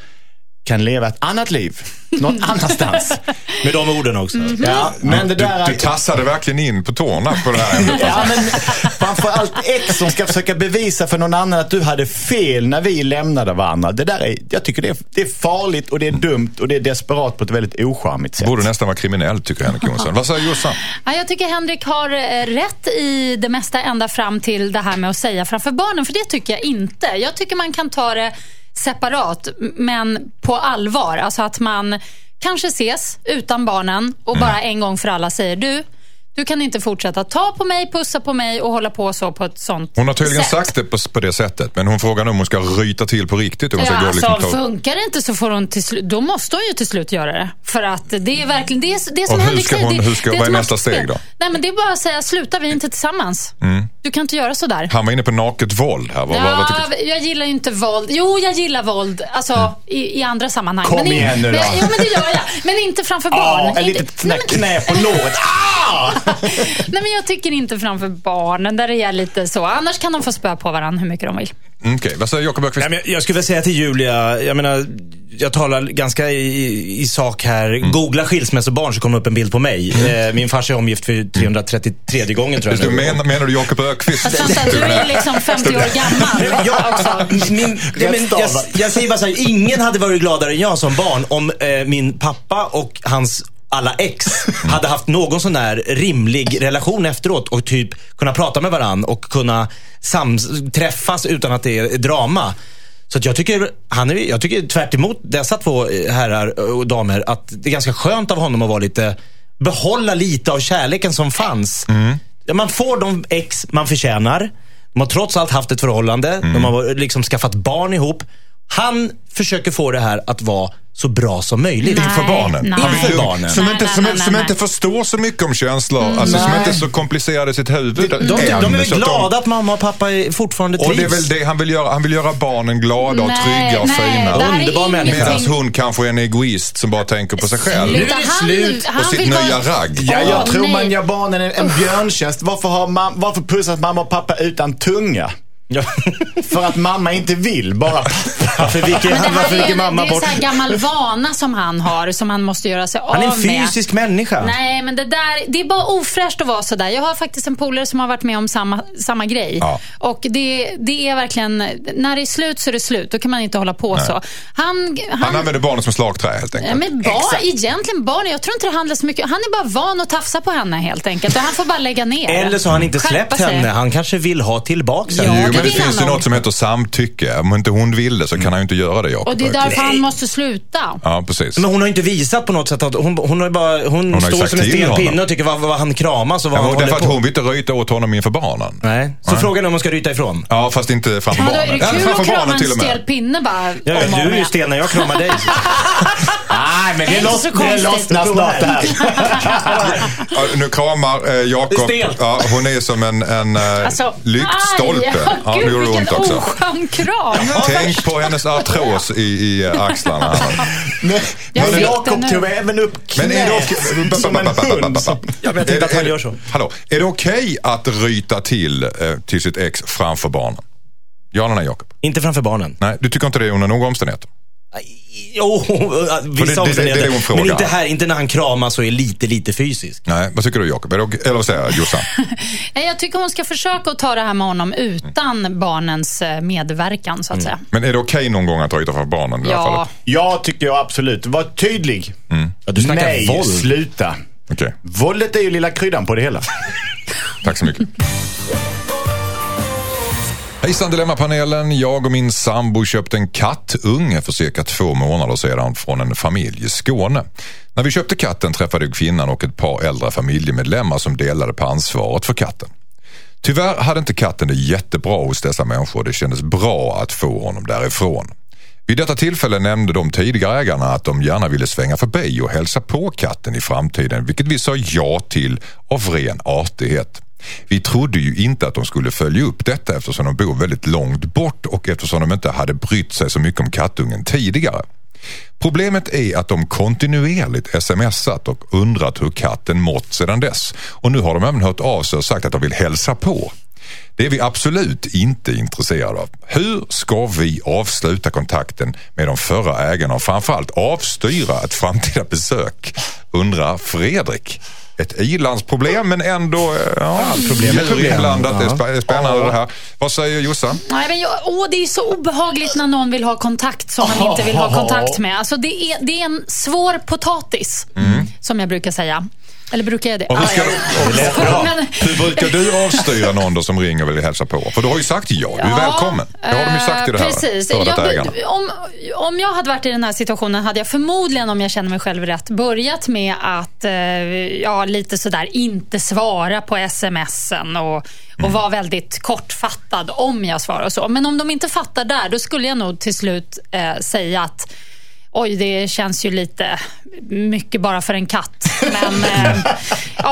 Speaker 6: kan leva ett annat liv. Någon annanstans. Mm-hmm.
Speaker 7: Med de orden också.
Speaker 6: Ja, men det
Speaker 4: Du,
Speaker 6: där
Speaker 4: du
Speaker 6: att...
Speaker 4: tassade verkligen in på tårna på det här ämnet.
Speaker 6: Ja, men framförallt ex som ska försöka bevisa för någon annan att du hade fel när vi lämnade varandra. Det där är, jag tycker det är, det är farligt och det är dumt och det är desperat på ett väldigt ocharmigt sätt.
Speaker 4: Borde nästan vara kriminell tycker Henrik Jonsson. Vad säger Jossan?
Speaker 8: Ja, jag tycker Henrik har eh, rätt i det mesta ända fram till det här med att säga framför barnen, för det tycker jag inte. Jag tycker man kan ta det separat, m- men på allvar. Alltså att man kanske ses utan barnen och bara
Speaker 4: Mm.
Speaker 8: en gång för alla säger du, du kan inte fortsätta ta på mig, pussa på mig och hålla på så på ett sånt
Speaker 4: Hon har tydligen
Speaker 8: sätt.
Speaker 4: sagt det på, på det sättet. Men hon frågar nu om hon ska ryta till på riktigt. och Hon ska
Speaker 8: Ja,
Speaker 4: gå och
Speaker 8: alltså,
Speaker 4: liksom ta...
Speaker 8: funkar det inte så får hon till slut, då måste hon ju till slut göra det. För att det är verkligen, det är, det är som
Speaker 4: Och hur
Speaker 8: Henrik
Speaker 4: ska
Speaker 8: säger,
Speaker 4: hon-
Speaker 8: det,
Speaker 4: hur ska-
Speaker 8: det
Speaker 4: vad är
Speaker 8: ett
Speaker 4: nästa
Speaker 8: maktspel.
Speaker 4: steg då?
Speaker 8: Nej men det är bara att säga, sluta, vi är inte tillsammans. Du kan inte göra sådär.
Speaker 4: Han var inne på naket våld här. Vad, vad, vad tycker... Mm.
Speaker 8: Ja, jag gillar ju inte våld. Jo, jag gillar våld alltså, i, i andra sammanhang.
Speaker 6: Kom
Speaker 8: i-
Speaker 6: igen nu då.
Speaker 8: Men, jo, men det gör jag. Men inte framför barn.
Speaker 6: Ah, en
Speaker 8: Inte-
Speaker 6: litet knä,
Speaker 8: nej,
Speaker 6: knä
Speaker 8: men-
Speaker 6: på låret. Ah!
Speaker 8: Nej, men jag tycker inte framför barnen. Där är jag lite så. Annars kan de få spö på varandra hur mycket de vill.
Speaker 4: Mm, Okej, vad säger Jakob Öqvist?
Speaker 7: Nej, men jag- jag skulle vilja säga till Julia, jag menar, jag talar ganska i, i- i sak här. Googla skilsmässobarn så kommer upp en bild på mig. Eh, min farsa är omgift för 333 gången tror
Speaker 4: Du
Speaker 7: jag. nu.
Speaker 4: menar, menar du Jakob Ökvist?
Speaker 8: Fast vänta, du är ju liksom 50 år
Speaker 7: Nej,
Speaker 8: gammal.
Speaker 7: men jag, alltså, min, nej, men jag,
Speaker 6: stavat.
Speaker 7: jag säger bara så här, ingen hade varit gladare än jag som barn om eh, min pappa och hans alla ex hade haft någon sån där rimlig relation efteråt och typ kunna prata med varann och kunna sams- träffas utan att det är drama. Så att jag tycker, han är, jag tycker tvärt emot dessa två eh, herrar och damer att det är ganska skönt av honom att vara lite, behålla lite av kärleken som fanns. Ja, Man får de ex man förtjänar. De har trots allt haft ett
Speaker 4: Mm.
Speaker 7: förhållande. De har liksom skaffat barn ihop. Han försöker få det här att vara så bra som möjligt.
Speaker 8: Nej.
Speaker 4: Inför barnen.
Speaker 8: nej.
Speaker 4: Han vill
Speaker 7: Inför
Speaker 4: lugna-
Speaker 7: barnen.
Speaker 4: Som, inte,
Speaker 8: Nej,
Speaker 4: som,
Speaker 8: nej, nej,
Speaker 4: som
Speaker 8: nej. Mm,
Speaker 4: inte förstår så mycket om känslor, alltså, som
Speaker 7: Nej.
Speaker 4: inte är så komplicerade i sitt huvud.
Speaker 7: De, de,
Speaker 4: än,
Speaker 7: de är väl
Speaker 4: så att
Speaker 7: glada att mamma och pappa är- fortfarande
Speaker 4: Och det är
Speaker 7: trivs.
Speaker 4: väl det han vill göra. Han vill göra barnen glada och trygga och
Speaker 8: nej, det
Speaker 4: fina.
Speaker 8: här är
Speaker 7: Underbar
Speaker 8: ingenting-
Speaker 7: människa.
Speaker 4: Medan hon kanske är en egoist som bara tänker på sig själv.
Speaker 7: Nu är
Speaker 8: Sluta,
Speaker 7: det
Speaker 8: han,
Speaker 7: slut
Speaker 8: han
Speaker 4: och sitt
Speaker 8: vill
Speaker 4: nya
Speaker 8: vara-
Speaker 4: ragg.
Speaker 6: Ja, jag
Speaker 8: Åh,
Speaker 6: tror
Speaker 8: nej.
Speaker 6: man gör barnen en, en björntjänst. Varför, har mam- varför pussas mamma och pappa utan tunga?
Speaker 7: Ja.
Speaker 6: För att mamma inte vill, bara pappa.
Speaker 7: Varför viker,
Speaker 8: Men det här
Speaker 7: varför
Speaker 8: är ju
Speaker 7: viker
Speaker 8: en,
Speaker 7: mamma
Speaker 8: det är en
Speaker 7: bort?
Speaker 8: sån här gammal vana som han har, som han måste göra sig av
Speaker 7: Han är
Speaker 8: med.
Speaker 7: en fysisk människa.
Speaker 8: Nej, men det där, det är bara ofräscht att vara sådär. Jag har faktiskt en polare som har varit med om samma, samma grej.
Speaker 4: Ja.
Speaker 8: Och det, det är verkligen, när det är slut så är det slut. Då kan man inte hålla på så. Han,
Speaker 4: Han
Speaker 8: han,
Speaker 4: använder barnen som slagträ helt
Speaker 8: Ja,
Speaker 4: enkelt.
Speaker 8: men barn, egentligen barn, jag tror inte det handlar så mycket. Han är bara van att tafsa på henne helt enkelt. Och han får bara lägga ner.
Speaker 7: Eller så har han inte
Speaker 8: Skärpa
Speaker 7: släppt
Speaker 8: sig.
Speaker 7: henne. Han kanske vill ha tillbaka
Speaker 8: Ja,
Speaker 4: Jo,
Speaker 7: henne.
Speaker 8: det
Speaker 4: men det
Speaker 8: vill
Speaker 4: finns ju
Speaker 8: han nog.
Speaker 4: något som heter samtycke. Om inte hon vill det så
Speaker 7: Mm.
Speaker 4: kan han ju inte göra det, Jakob.
Speaker 8: Och det är
Speaker 4: verkligen.
Speaker 8: därför han måste sluta.
Speaker 4: Ja, precis.
Speaker 7: Men hon har ju inte visat på något sätt att hon, hon, har ju bara, hon,
Speaker 4: har ju
Speaker 7: står
Speaker 4: sagt
Speaker 7: som en
Speaker 4: till
Speaker 7: stel
Speaker 4: honom.
Speaker 7: pinne och tycker vad, vad han kramas och vad
Speaker 4: Ja,
Speaker 7: han
Speaker 4: men
Speaker 7: håller
Speaker 4: därför
Speaker 7: på.
Speaker 4: att hon vill inte röjta åt honom inför barnen.
Speaker 7: Nej. Så frågan är om hon ska ryta ifrån.
Speaker 4: Ja, fast inte framför
Speaker 8: Ja, då är
Speaker 4: barnen.
Speaker 8: det kul
Speaker 4: framför
Speaker 8: att krama
Speaker 4: barnen
Speaker 8: en
Speaker 4: till och med.
Speaker 8: stel pinne bara
Speaker 7: Ja,
Speaker 8: om och om
Speaker 7: du är ju
Speaker 8: igen.
Speaker 7: stel när jag kramar dig.
Speaker 6: Nej, men
Speaker 8: Det är inte så
Speaker 6: det
Speaker 8: konstigt.
Speaker 6: lossnar snart det här.
Speaker 4: Ja, nu kramar eh, Jakob.
Speaker 7: Det är stelt.
Speaker 4: Ja, hon är som en, en eh,
Speaker 8: Alltså,
Speaker 4: lyktstolpe.
Speaker 8: Aj,
Speaker 4: Ja, nu
Speaker 8: gud,
Speaker 4: gjorde det ont
Speaker 8: vilken
Speaker 4: också.
Speaker 8: oskön kram.
Speaker 4: Tänk på hennes artros i, i axlarna. här.
Speaker 6: Men-
Speaker 8: Jag
Speaker 6: Men
Speaker 8: fick den
Speaker 6: Jakob
Speaker 8: nu.
Speaker 6: tog även upp
Speaker 4: Men är det
Speaker 6: knät
Speaker 4: okej...
Speaker 6: som en hund. som-
Speaker 7: Ja, men jag tänkte
Speaker 4: Är det-
Speaker 7: att han
Speaker 4: är det-
Speaker 7: gör så.
Speaker 4: Hallå, är det okej att ryta till eh, till sitt ex framför barnen? Ja eller nej, Jakob?
Speaker 7: inte framför barnen.
Speaker 4: Nej, du tycker inte det under några omständigheter?
Speaker 7: Jo,
Speaker 4: det- det-
Speaker 7: vissa
Speaker 4: det är det hon
Speaker 7: omständigheter.
Speaker 4: frågar.
Speaker 7: Men inte här, inte när han kramas och är lite, lite fysisk.
Speaker 4: Nej, vad tycker du Jakob? Är det okej- Eller vad säger jag, Jossan?
Speaker 8: Nej, Jag tycker hon ska försöka att ta det här med honom utan barnens eh, medverkan, så att säga.
Speaker 4: Men är det okej någon gång att ryta framför barnen i det här
Speaker 8: Ja.
Speaker 4: fallet?
Speaker 6: Jag tycker jag absolut. Var tydlig.
Speaker 7: Mm. Ja, du snackar
Speaker 6: Nej,
Speaker 7: våld.
Speaker 6: sluta.
Speaker 4: Okej,
Speaker 6: Våldet är ju lilla kryddan på det hela.
Speaker 4: tack så mycket. Hejsan Dilemmapanelen. Jag och min sambo köpte en kattunge för cirka två månader sedan från en familj i Skåne. När vi köpte katten träffade jag kvinnan och ett par äldre familjemedlemmar som delade på ansvaret för katten. Tyvärr hade inte katten det jättebra hos dessa människor och det kändes bra att få honom därifrån. Vid detta tillfälle nämnde de tidigare ägarna att de gärna ville svänga förbi och hälsa på katten i framtiden, vilket vi sa ja till av ren artighet. Vi trodde ju inte att de skulle följa upp detta eftersom de bor väldigt långt bort och eftersom de inte hade brytt sig så mycket om kattungen tidigare. Problemet är att de kontinuerligt smsat och undrat hur katten mått sedan dess. Och nu har de även hört av sig och sagt att de vill hälsa på. Det är vi absolut inte intresserade av. Hur ska vi avsluta kontakten med de förra ägarna och framförallt avstyra ett framtida besök? Undrar Fredrik. Ett i-landsproblem men ändå eh, ja, problem,
Speaker 7: problem.
Speaker 4: inblandat. Det är spä- spännande det här. Vad säger Jossan?
Speaker 8: Nej, men jag, åh, det är så obehagligt när någon vill ha kontakt som man inte vill ha kontakt med. Alltså, det, är, det är en svår potatis, som jag brukar säga. Eller brukar jag det?
Speaker 4: Mm. Och hur, ska,
Speaker 8: Ah,
Speaker 4: och,
Speaker 8: Men-
Speaker 4: hur brukar du avstyra någon då som ringer och vill hälsa på? För du har ju sagt ja, du är välkommen. Det har de ju sagt i det här.
Speaker 8: eh, Precis.
Speaker 4: före detta ägarna.
Speaker 8: Jag, om, om jag hade varit i den här situationen hade jag förmodligen, om jag känner mig själv rätt, börjat med att eh, ja, lite sådär inte svara på smsen och, och
Speaker 4: Mm.
Speaker 8: vara väldigt kortfattad om jag svarar och så. Men om de inte fattar där, då skulle jag nog till slut eh, säga att Oj, det känns ju lite mycket bara för en katt. Men eh,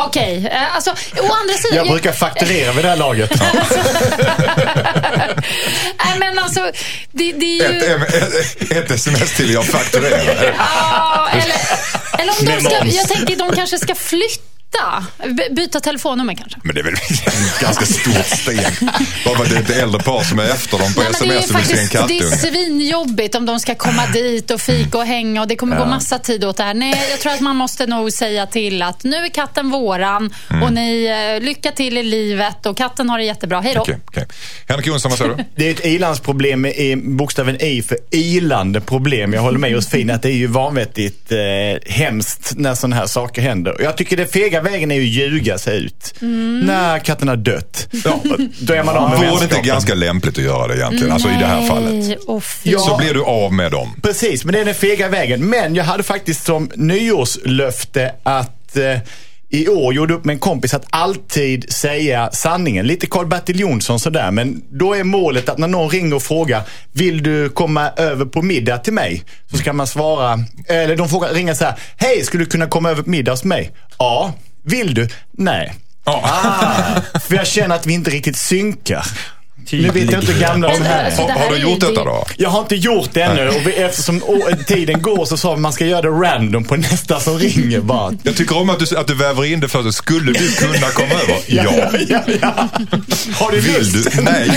Speaker 8: okej. Eh, alltså, å andra sidan...
Speaker 6: Jag brukar fakturera vid det här laget.
Speaker 8: Nej, men alltså, det, det är ju...
Speaker 4: Ett, ett, ett sms till jag fakturerar.
Speaker 8: Ja, eller, eller om de
Speaker 7: Med
Speaker 8: ska,
Speaker 7: moms.
Speaker 8: jag tänker de kanske ska flytta. By- Byta telefonnummer kanske.
Speaker 4: Men det är väl ett ganska stort steg. Bara för att det är ett äldre par som är efter dem på
Speaker 8: Nej, men det är
Speaker 4: sms och vill se en
Speaker 8: faktiskt det är
Speaker 4: kattunge.
Speaker 8: svinjobbigt om de ska komma dit och fika och hänga och det kommer gå massa tid åt det här. Nej, jag tror att man måste nog säga till att nu är katten våran
Speaker 4: Mm.
Speaker 8: och ni eh, lycka till i livet och katten har det jättebra. Hej då.
Speaker 4: Okej, okej. Henrik Jonsson, vad säger du?
Speaker 6: Det är ett i-landsproblem med i- bokstaven i för ilande problem. Jag håller med Josefin att det är ju vanvettigt eh, hemskt när sådana här saker händer. Och Jag tycker det fega vägen är ju att ljuga sig ut. När katten har dött, Mm. ja, då är man av med
Speaker 4: Vore det inte
Speaker 6: vänskapen.
Speaker 4: ganska lämpligt att göra det egentligen? Alltså i det här fallet.
Speaker 8: Nej, åh, fy.
Speaker 6: Ja.
Speaker 4: Så blir du av med dem.
Speaker 6: Precis, men det är den fega vägen. Men jag hade faktiskt som nyårslöfte att eh, i år gjorde upp med en kompis att alltid säga sanningen. Lite Karl-Bertil Jonsson sådär. Men då är målet att när någon ringer och frågar, vill du komma över på middag till mig? Så ska man svara, eller de frågar, ringer så här, hej, skulle du kunna komma över på middag hos mig? Ja. Vill du? Nej.
Speaker 4: Ja.
Speaker 6: Ah, för jag känner att vi inte riktigt synkar. Nu vet jag inte hur gamla de här är.
Speaker 8: Så
Speaker 4: Har,
Speaker 8: Alltså, det här
Speaker 4: har du
Speaker 8: är ju-
Speaker 4: gjort
Speaker 8: det-
Speaker 4: detta då?
Speaker 6: Jag har inte gjort det ännu och vi- eftersom å- tiden går så sa vi att man ska göra det random på nästa som ringer bara.
Speaker 4: Jag tycker om att du, att du väver in det först. Skulle du kunna komma över? Ja.
Speaker 6: ja, ja. Har du
Speaker 4: Vill
Speaker 6: lust?
Speaker 4: du? Nej.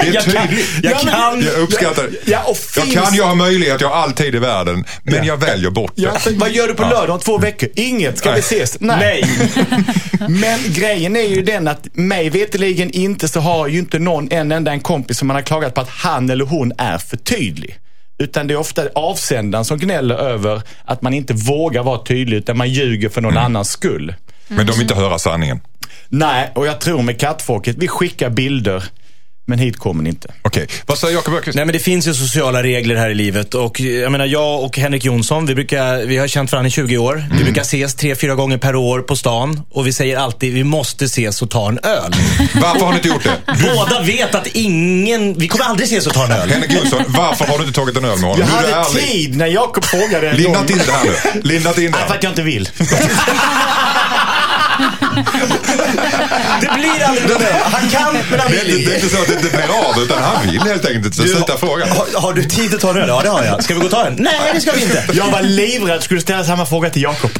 Speaker 4: Det är tydligt.
Speaker 6: jag kan.
Speaker 4: Jag uppskattar det.
Speaker 6: Ja, och
Speaker 4: Jag
Speaker 6: finns-
Speaker 4: kan, jag har möjlighet, jag har all tid i världen. Men jag väljer bort
Speaker 6: Ja,
Speaker 4: det.
Speaker 6: vad gör du på lördag om två veckor? Inget. Ska
Speaker 4: Nej.
Speaker 6: vi ses? Men grejen är ju den att mig veteligen inte så har ju inte någon en enda en kompis som man har klagat på att han eller hon är för tydlig. Utan det är ofta avsändaren som gnäller över att man inte vågar vara tydlig utan man ljuger för
Speaker 4: Mm.
Speaker 6: någon annans skull.
Speaker 4: Men de vill inte höra sanningen.
Speaker 6: Nej, och jag tror med kattfolket, vi skickar bilder men hit kommer ni inte.
Speaker 4: Okej, vad säger Jakob Öqvist?
Speaker 7: Nej men det finns ju sociala regler här i livet och eh, jag menar jag och Henrik Jonsson, vi, brukar, vi har känt varandra i 20 år. Vi brukar ses tre, fyra gånger per år på stan och vi säger alltid vi måste ses och ta en öl.
Speaker 4: Varför har ni inte gjort det?
Speaker 7: Båda vet att ingen, vi kommer aldrig ses och ta en öl.
Speaker 4: Henrik Jonsson, varför har du inte tagit en öl med honom?
Speaker 6: Jag
Speaker 4: Nu är du
Speaker 6: hade
Speaker 4: ärlig.
Speaker 6: tid när Jakob frågade en gång.
Speaker 4: Lindat in det här nu. Lindat in det.
Speaker 6: Nej, för att jag inte vill.
Speaker 7: Det blir aldrig en öl. Han kan men han
Speaker 4: Det är,
Speaker 7: vill
Speaker 4: inte, det är
Speaker 7: inte.
Speaker 4: inte så att det inte blir av, utan han vill helt enkelt inte. Så sluta fråga.
Speaker 7: Har, har du tid att ta en öl? Ja det har jag. Ska vi gå och ta en? Nej det ska vi inte.
Speaker 6: Jag var livrädd skulle ställa samma fråga till Jakob.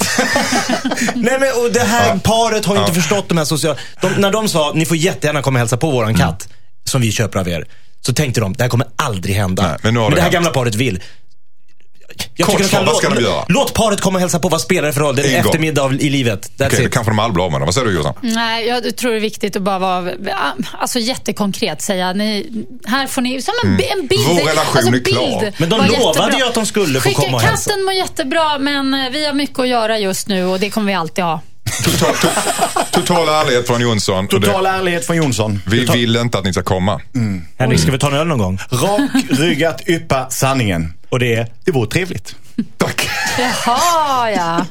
Speaker 7: Nej men och det här paret har ju inte förstått de här sociala... De, när de sa, ni får jättegärna komma och hälsa på
Speaker 4: Mm.
Speaker 7: våran katt, som vi köper av er. Så tänkte de, det här kommer aldrig hända.
Speaker 4: Nej, men nu har det
Speaker 7: det här
Speaker 4: hänt.
Speaker 7: gamla paret vill. Jag
Speaker 4: Kort
Speaker 7: tycker de
Speaker 4: svar,
Speaker 7: kan
Speaker 4: vad
Speaker 7: låt-
Speaker 4: ska de göra?
Speaker 7: Låt paret komma och hälsa på, vad spelar det för roll? Det är
Speaker 4: En
Speaker 7: en
Speaker 4: gång.
Speaker 7: eftermiddag av- i livet. That's
Speaker 4: Okej, då
Speaker 7: it.
Speaker 4: kanske de aldrig blir av med den. Vad säger du Jossan?
Speaker 6: Mm.
Speaker 8: Nej, jag tror det är viktigt att bara vara alltså, jättekonkret. Säga, ni, här får ni, som en,
Speaker 4: Mm.
Speaker 8: bi- en bild.
Speaker 4: Vår relation
Speaker 8: alltså,
Speaker 4: är
Speaker 8: bild.
Speaker 4: klar.
Speaker 7: Men de
Speaker 8: Var
Speaker 7: lovade
Speaker 8: jättebra.
Speaker 7: ju att de skulle få
Speaker 8: Skicka,
Speaker 7: komma och hälsa.
Speaker 8: Katten mår jättebra, men eh, vi har mycket att göra just nu och det kommer vi alltid ha.
Speaker 4: Total, to, total ärlighet från Jonsson. Och
Speaker 6: Total Mm.
Speaker 4: det,
Speaker 6: ärlighet från Jonsson.
Speaker 4: vi vill inte att ni ska komma.
Speaker 7: Henrik, ska vi ta en öl någon gång?
Speaker 6: Rakryggat yppa sanningen. Och det är, det vore trevligt.
Speaker 4: Tack.
Speaker 8: Jaha, ja.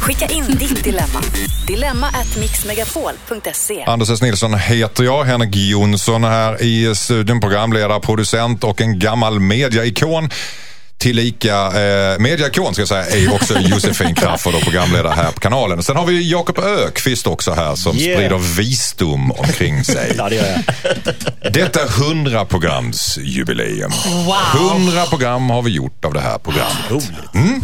Speaker 5: Skicka in ditt dilemma. Dilemma at mixmegapol.se.
Speaker 4: Anders S. Nilsson heter jag. Henrik Jonsson här i studion. Programledare, producent och en gammal mediaikon. Tillika eh, mediaikon ska jag säga är ju också Josefin Crafoord och programledare här på kanalen. Sen har vi Jakob Ökvist också här som
Speaker 7: Yeah.
Speaker 4: sprider visdom omkring sig.
Speaker 7: Ja, det gör jag.
Speaker 4: Detta är 100 programsjubileum.
Speaker 8: Wow.
Speaker 4: 100 program har vi gjort av det här programmet.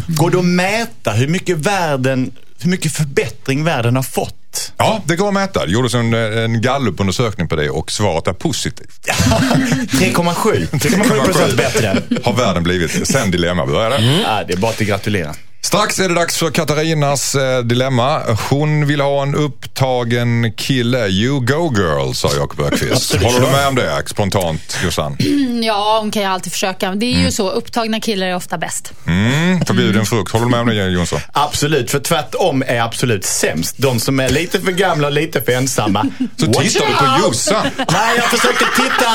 Speaker 6: Går det att mäta hur mycket världen, hur mycket förbättring världen har fått?
Speaker 4: Ja, det går att mäta. Det gjordes en, en gallupundersökning på det och svaret är positivt.
Speaker 6: Mm. 3,7. 3,7 procent bättre.
Speaker 4: Har världen blivit sen Dilemma började.
Speaker 6: Ja, det är bara att gratulera.
Speaker 4: Strax är det dags för Katarinas eh, dilemma. Hon vill ha en upptagen kille. You go girl, sa Jakob Öqvist. Håller du med om det spontant, Jossan?
Speaker 8: Mm, Ja, hon kan ju alltid försöka. Det är ju så, upptagna killar är ofta bäst.
Speaker 4: Mm, förbjuden frukt. Håller du med om det, Jonsson?
Speaker 6: Absolut, för tvärtom är absolut sämst. De som är lite för gamla och lite för ensamma.
Speaker 4: Så
Speaker 6: Watch
Speaker 4: tittar du
Speaker 6: out!
Speaker 4: på Jossan.
Speaker 6: Nej, jag försökte titta,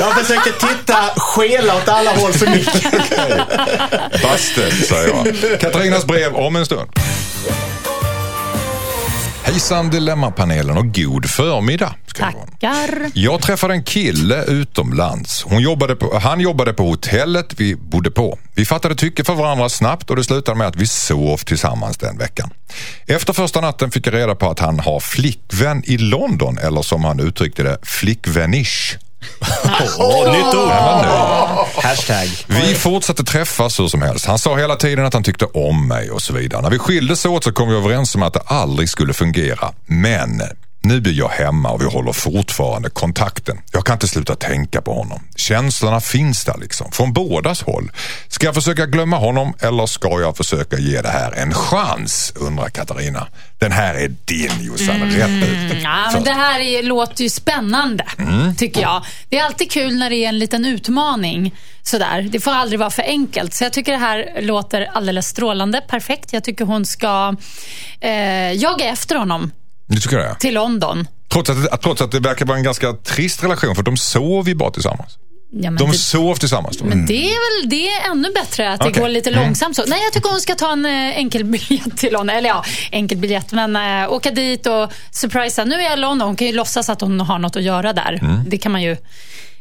Speaker 6: jag försökte titta, skela åt alla håll som gick.
Speaker 4: Basten, säger jag. Katarinas brev om en stund. Hejsan Dilemmapanelen och god förmiddag. Ska det vara.
Speaker 8: Tackar.
Speaker 4: Jag träffade en kille utomlands. Hon jobbade på, han jobbade på hotellet vi bodde på. Vi fattade tycke för varandra snabbt och det slutade med att vi sov tillsammans den veckan. Efter första natten fick jag reda på att han har flickvän i London eller som han uttryckte det, flickvänish.
Speaker 6: Åh, nytt ord.
Speaker 7: Hashtag.
Speaker 4: Vi fortsatte träffas hur som helst. Han sa hela tiden att han tyckte om mig och så vidare. När vi skildes åt så kom vi överens om att det aldrig skulle fungera. Men nu blir jag hemma och vi håller fortfarande kontakten. Jag kan inte sluta tänka på honom. Känslorna finns där liksom, från bådas håll. Ska jag försöka glömma honom eller ska jag försöka ge det här en chans? Undrar Katarina. Den här är din Jossan, rätt ut.
Speaker 8: Mm. Ja, men det här är, låter ju spännande, tycker jag. Det är alltid kul när det är en liten utmaning. Sådär. Det får aldrig vara för enkelt. Så jag tycker det här låter alldeles strålande. Perfekt. Jag tycker hon ska eh, jaga efter honom
Speaker 4: Nu tycker jag det.
Speaker 8: till London.
Speaker 4: Trots att, trots att det verkar vara en ganska trist relation för de sov ju bara tillsammans.
Speaker 8: Ja, men
Speaker 4: De
Speaker 8: det,
Speaker 4: sov tillsammans då?
Speaker 8: men det är väl det är ännu bättre att det
Speaker 4: Mm. Okej. Mm.
Speaker 8: går lite långsamt så. Nej, jag tycker hon ska ta en eh, enkel biljett till London. Eller ja, enkel biljett, men eh, åka dit och surprisa. Nu är jag i London. Hon kan ju låtsas att hon har något att göra där. Det kan man ju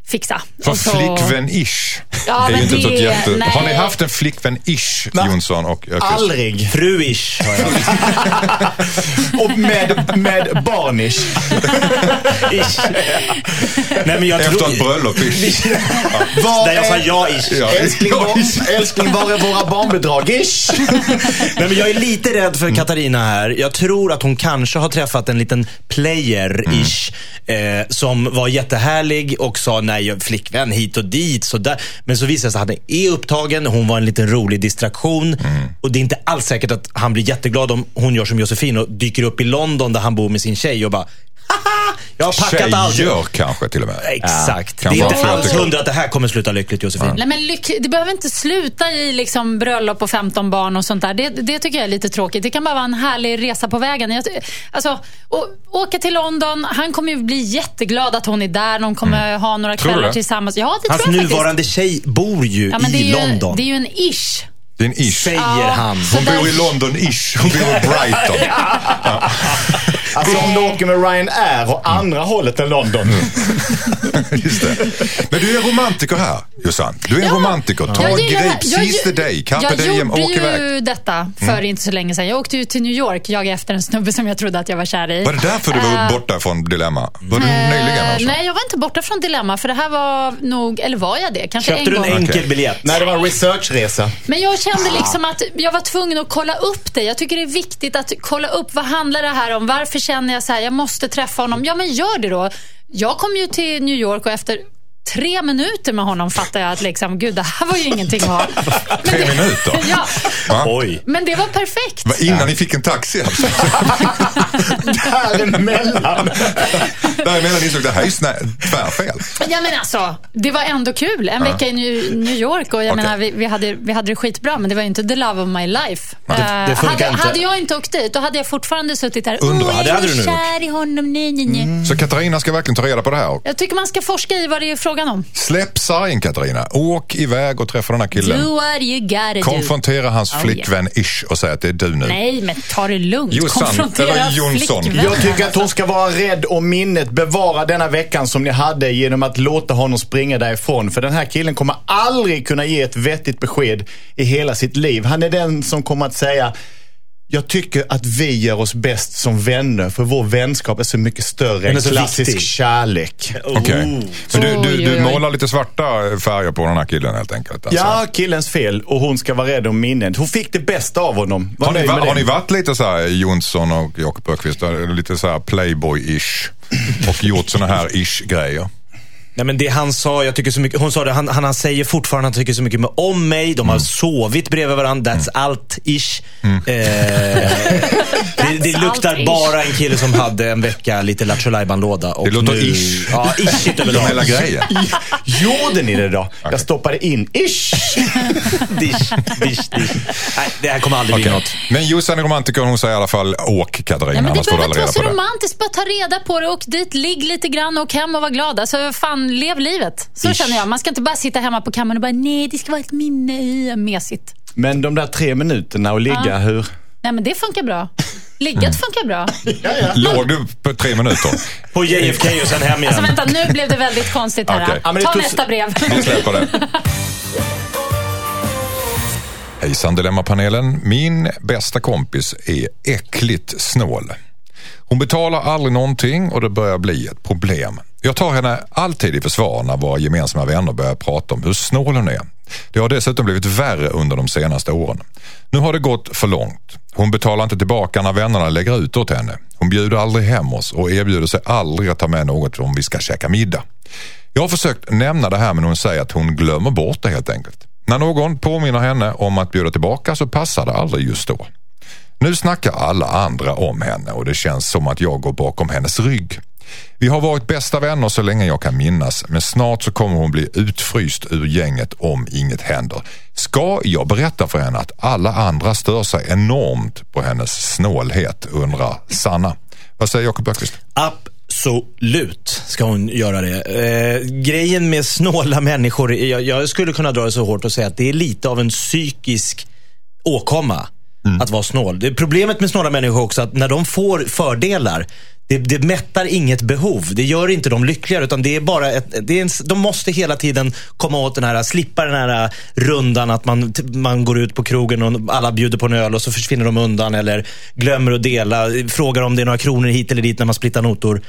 Speaker 8: fixa.
Speaker 4: Mm. För
Speaker 8: Och så-
Speaker 4: flickvän-ish
Speaker 8: Ja,
Speaker 4: är ju
Speaker 8: men
Speaker 4: inte så
Speaker 8: det-
Speaker 4: jätte...
Speaker 8: nej.
Speaker 4: Har ni haft en flickvän-ish,
Speaker 6: Va?
Speaker 4: Jonsson och Öqvist?
Speaker 6: Aldrig.
Speaker 7: Fruish har jag.
Speaker 6: Och med, med barnish.
Speaker 7: Ish. Nej, men jag
Speaker 4: Efter
Speaker 7: tror...
Speaker 4: ett bröllop, ish.
Speaker 6: Var
Speaker 7: Där jag sa
Speaker 6: är-
Speaker 7: ja, ish.
Speaker 4: Ja.
Speaker 6: Älskling, var, älskling, var är våra barnbidrag? Ish.
Speaker 7: Nej, men jag är lite rädd för Katarina här. Jag tror att hon kanske har träffat en liten player-ish.
Speaker 4: Mm.
Speaker 7: Eh, som var jättehärlig och sa nej, jag- flickvän hit och dit. Så där. Men så visade det sig att han är upptagen. Hon var en liten rolig distraktion.
Speaker 4: Mm.
Speaker 7: Och det är inte alls säkert att han blir jätteglad om hon gör som Josefin och dyker upp i London där han bor med sin tjej och bara Haha, jag har packat allt.
Speaker 4: Tjejer kanske till och med.
Speaker 7: Exakt.
Speaker 4: Kan
Speaker 7: det är
Speaker 4: vara
Speaker 7: inte
Speaker 4: flera
Speaker 7: alls
Speaker 4: tycker.
Speaker 7: hundra att det här kommer sluta lyckligt Josefin.
Speaker 8: Nej, men lyck, det behöver inte sluta i liksom bröllop och 15 barn och sånt där. Det, det tycker jag är lite tråkigt. Det kan bara vara en härlig resa på vägen. Jag, ty- alltså, å- åka till London. Han kommer ju bli jätteglad att hon är där. De kommer ha några
Speaker 4: Mm. Tror du
Speaker 8: kvällar
Speaker 4: det?
Speaker 8: tillsammans. Ja, det
Speaker 7: Hans
Speaker 8: tror jag faktiskt.
Speaker 7: nuvarande tjej bor ju
Speaker 8: Ja, men det
Speaker 7: i
Speaker 8: är ju,
Speaker 7: London.
Speaker 8: Det är ju en ish.
Speaker 4: Det är en ish.
Speaker 7: Säger
Speaker 8: Ja,
Speaker 7: han.
Speaker 8: så
Speaker 4: Hon
Speaker 8: där-
Speaker 4: bor i London-ish. Hon bor i Brighton.
Speaker 6: Alltså om du åker med Ryanair och andra hållet än London.
Speaker 4: Just det. Men du är romantiker här, Jossan. Du är en romantiker. Ta
Speaker 8: Jag
Speaker 4: en
Speaker 8: gillar det här.
Speaker 4: grip, seize the
Speaker 8: ju-
Speaker 4: day, carpe
Speaker 8: jag
Speaker 4: diem,
Speaker 8: gjorde
Speaker 4: åk iväg.
Speaker 8: ju
Speaker 4: Mm.
Speaker 8: detta för inte så länge sedan. Jag åkte ju till New York, jag efter en snubbe som jag trodde att jag var kär i.
Speaker 4: Var det därför du var borta från Dilemma? Var du nyligen
Speaker 8: Eh,
Speaker 4: alltså?
Speaker 8: Nej, jag var inte borta från Dilemma, för det här var nog, eller var jag det? Kanske
Speaker 7: Köpte
Speaker 8: en
Speaker 7: du en
Speaker 8: gång.
Speaker 7: enkel
Speaker 4: Okej.
Speaker 7: biljett?
Speaker 6: Nej, det var en researchresa.
Speaker 8: Men jag kände liksom att jag var tvungen att kolla upp det. Jag tycker det är viktigt att kolla upp vad handlar det här om? Varför känner jag så här, jag måste träffa honom? Ja, men gör det då. Jag kom ju till New York och efter tre minuter med honom fattade jag att liksom, gud, det här var ju ingenting att ha. Men
Speaker 4: Tre
Speaker 8: det-
Speaker 4: minuter?
Speaker 8: Ja,
Speaker 4: Va?
Speaker 7: Oj.
Speaker 8: men det var perfekt.
Speaker 4: Va, Innan ni fick en taxi alltså?
Speaker 6: Däremellan.
Speaker 4: Däremellan insåg det här är ju snä- tvärfel.
Speaker 8: Ja, men alltså, det var ändå kul. En vecka i New, New York och jag
Speaker 4: Okej.
Speaker 8: menar, vi, vi, hade, vi hade det skitbra, men det var ju inte the love of my life.
Speaker 7: det
Speaker 8: Eh,
Speaker 7: funkar
Speaker 8: hade,
Speaker 7: inte.
Speaker 8: hade jag inte åkt dit, då hade jag fortfarande suttit där.
Speaker 4: Undra,
Speaker 8: Åh,
Speaker 4: ja,
Speaker 7: det
Speaker 8: jag
Speaker 7: hade
Speaker 8: är
Speaker 7: du nog
Speaker 8: kär i honom. Nej, nej, nej.
Speaker 4: Så Katarina ska verkligen ta reda på det här.
Speaker 8: Jag tycker man ska forska i vad det är frågan om.
Speaker 4: Släpp sargen Katarina. Åk iväg och träffa den här killen.
Speaker 8: Do what you gotta do.
Speaker 4: Konfrontera hans
Speaker 8: Oh,
Speaker 4: flickvän ish och säg att det är du nu.
Speaker 8: Nej, men ta det lugnt.
Speaker 4: Jossan,
Speaker 8: Konfrontera
Speaker 4: eller Jonsson.
Speaker 8: flickvännen.
Speaker 6: Jag tycker att hon ska vara rädd om minnet. Bevara denna veckan som ni hade genom att låta honom springa därifrån. För den här killen kommer aldrig kunna ge ett vettigt besked i hela sitt liv. Han är den som kommer att säga jag tycker att vi gör oss bäst som vänner för vår vänskap är så mycket större
Speaker 7: är
Speaker 6: än
Speaker 7: så
Speaker 6: klassisk
Speaker 7: viktig."
Speaker 6: kärlek.
Speaker 4: Okej. Så du, du,
Speaker 8: Oj, oj,
Speaker 4: du
Speaker 8: oj.
Speaker 4: målar lite svarta färger på den här killen helt enkelt? Alltså.
Speaker 6: Ja, killens fel och hon ska vara rädd om minnet. Hon fick det bästa av honom. Var
Speaker 4: Har ni,
Speaker 6: nöjd med
Speaker 4: va-
Speaker 6: det.
Speaker 4: har ni varit lite så här Jonsson och Jakob Öqvist, eh, lite så här playboy-ish och gjort såna här ish-grejer?
Speaker 7: Nej, men det han sa, jag tycker så mycket, hon sa det, han, han, han säger fortfarande att han tycker så mycket med om mig. De har
Speaker 4: Mm.
Speaker 7: sovit bredvid varandra. That's allt ish. Eh, det, det
Speaker 8: That's
Speaker 7: luktar
Speaker 8: allt-ish.
Speaker 7: bara en kille som hade en vecka lite Lattjo Lajban-låda. och
Speaker 4: Det låter
Speaker 7: nu-
Speaker 4: ish.
Speaker 7: Ja, ishigt
Speaker 4: De
Speaker 7: överlag.
Speaker 4: hela grejen.
Speaker 6: Gjorde ni det då? Jag stoppade in ish.
Speaker 7: Dish, dish, dish. Nej, det här kommer aldrig bli
Speaker 4: Okej.
Speaker 7: något.
Speaker 4: Men Jossan är romantiker hon säger i alla fall åk Katarina,
Speaker 8: Ja, men det
Speaker 4: annars får du
Speaker 8: behöver
Speaker 4: aldrig
Speaker 8: inte
Speaker 4: reda
Speaker 8: vara så
Speaker 4: på det.
Speaker 8: romantiskt. Bara ta reda på det. Åk dit, ligg lite grann, åk hem och var glad. Alltså, fan, lev livet. Så
Speaker 7: Ish.
Speaker 8: känner jag. Man ska inte bara sitta hemma på kammaren och bara, nej, det ska vara ett minne i mesigt.
Speaker 6: Men de där tre minuterna och ligga, hur?
Speaker 8: Nej, men det funkar bra.
Speaker 4: Mm.
Speaker 8: Ligget funkar bra.
Speaker 4: Låg du på tre minuter?
Speaker 7: På JFK
Speaker 6: Eh,
Speaker 7: och sen hem igen.
Speaker 8: Alltså, vänta, nu blev det väldigt konstigt här.
Speaker 4: Okej.
Speaker 6: Ja, men det
Speaker 8: Ta
Speaker 6: tog-
Speaker 8: nästa brev.
Speaker 4: Vi släpper det. Hejsan Dilemmapanelen. Min bästa kompis är äckligt snål. Hon betalar aldrig någonting och det börjar bli ett problem. Jag tar henne alltid i försvar när våra gemensamma vänner börjar prata om hur snål hon är. Det har dessutom blivit värre under de senaste åren. Nu har det gått för långt. Hon betalar inte tillbaka när vännerna lägger ut åt henne. Hon bjuder aldrig hem oss och erbjuder sig aldrig att ta med något om vi ska käka middag. Jag har försökt nämna det här men hon säger att hon glömmer bort det helt enkelt. När någon påminner henne om att bjuda tillbaka så passar det aldrig just då. Nu snackar alla andra om henne och det känns som att jag går bakom hennes rygg. Vi har varit bästa vänner så länge jag kan minnas men snart så kommer hon bli utfryst ur gänget om inget händer. Ska jag berätta för henne att alla andra stör sig enormt på hennes snålhet undrar Sanna. Vad säger Jakob Öqvist?
Speaker 7: Absolut ska hon göra det. Eh, grejen med snåla människor, jag, jag skulle kunna dra det så hårt och säga att det är lite av en psykisk åkomma att vara snål. Det, problemet med snåla människor är också att när de får fördelar, det, det mättar inget behov. Det gör inte dem lyckligare utan det är bara ett, det är en, s- de måste hela tiden komma åt den här, slippa den här rundan att man, t- man går ut på krogen och alla bjuder på en öl och så försvinner de undan eller glömmer att dela, frågar om det är några kronor hit eller dit när man splittar notor.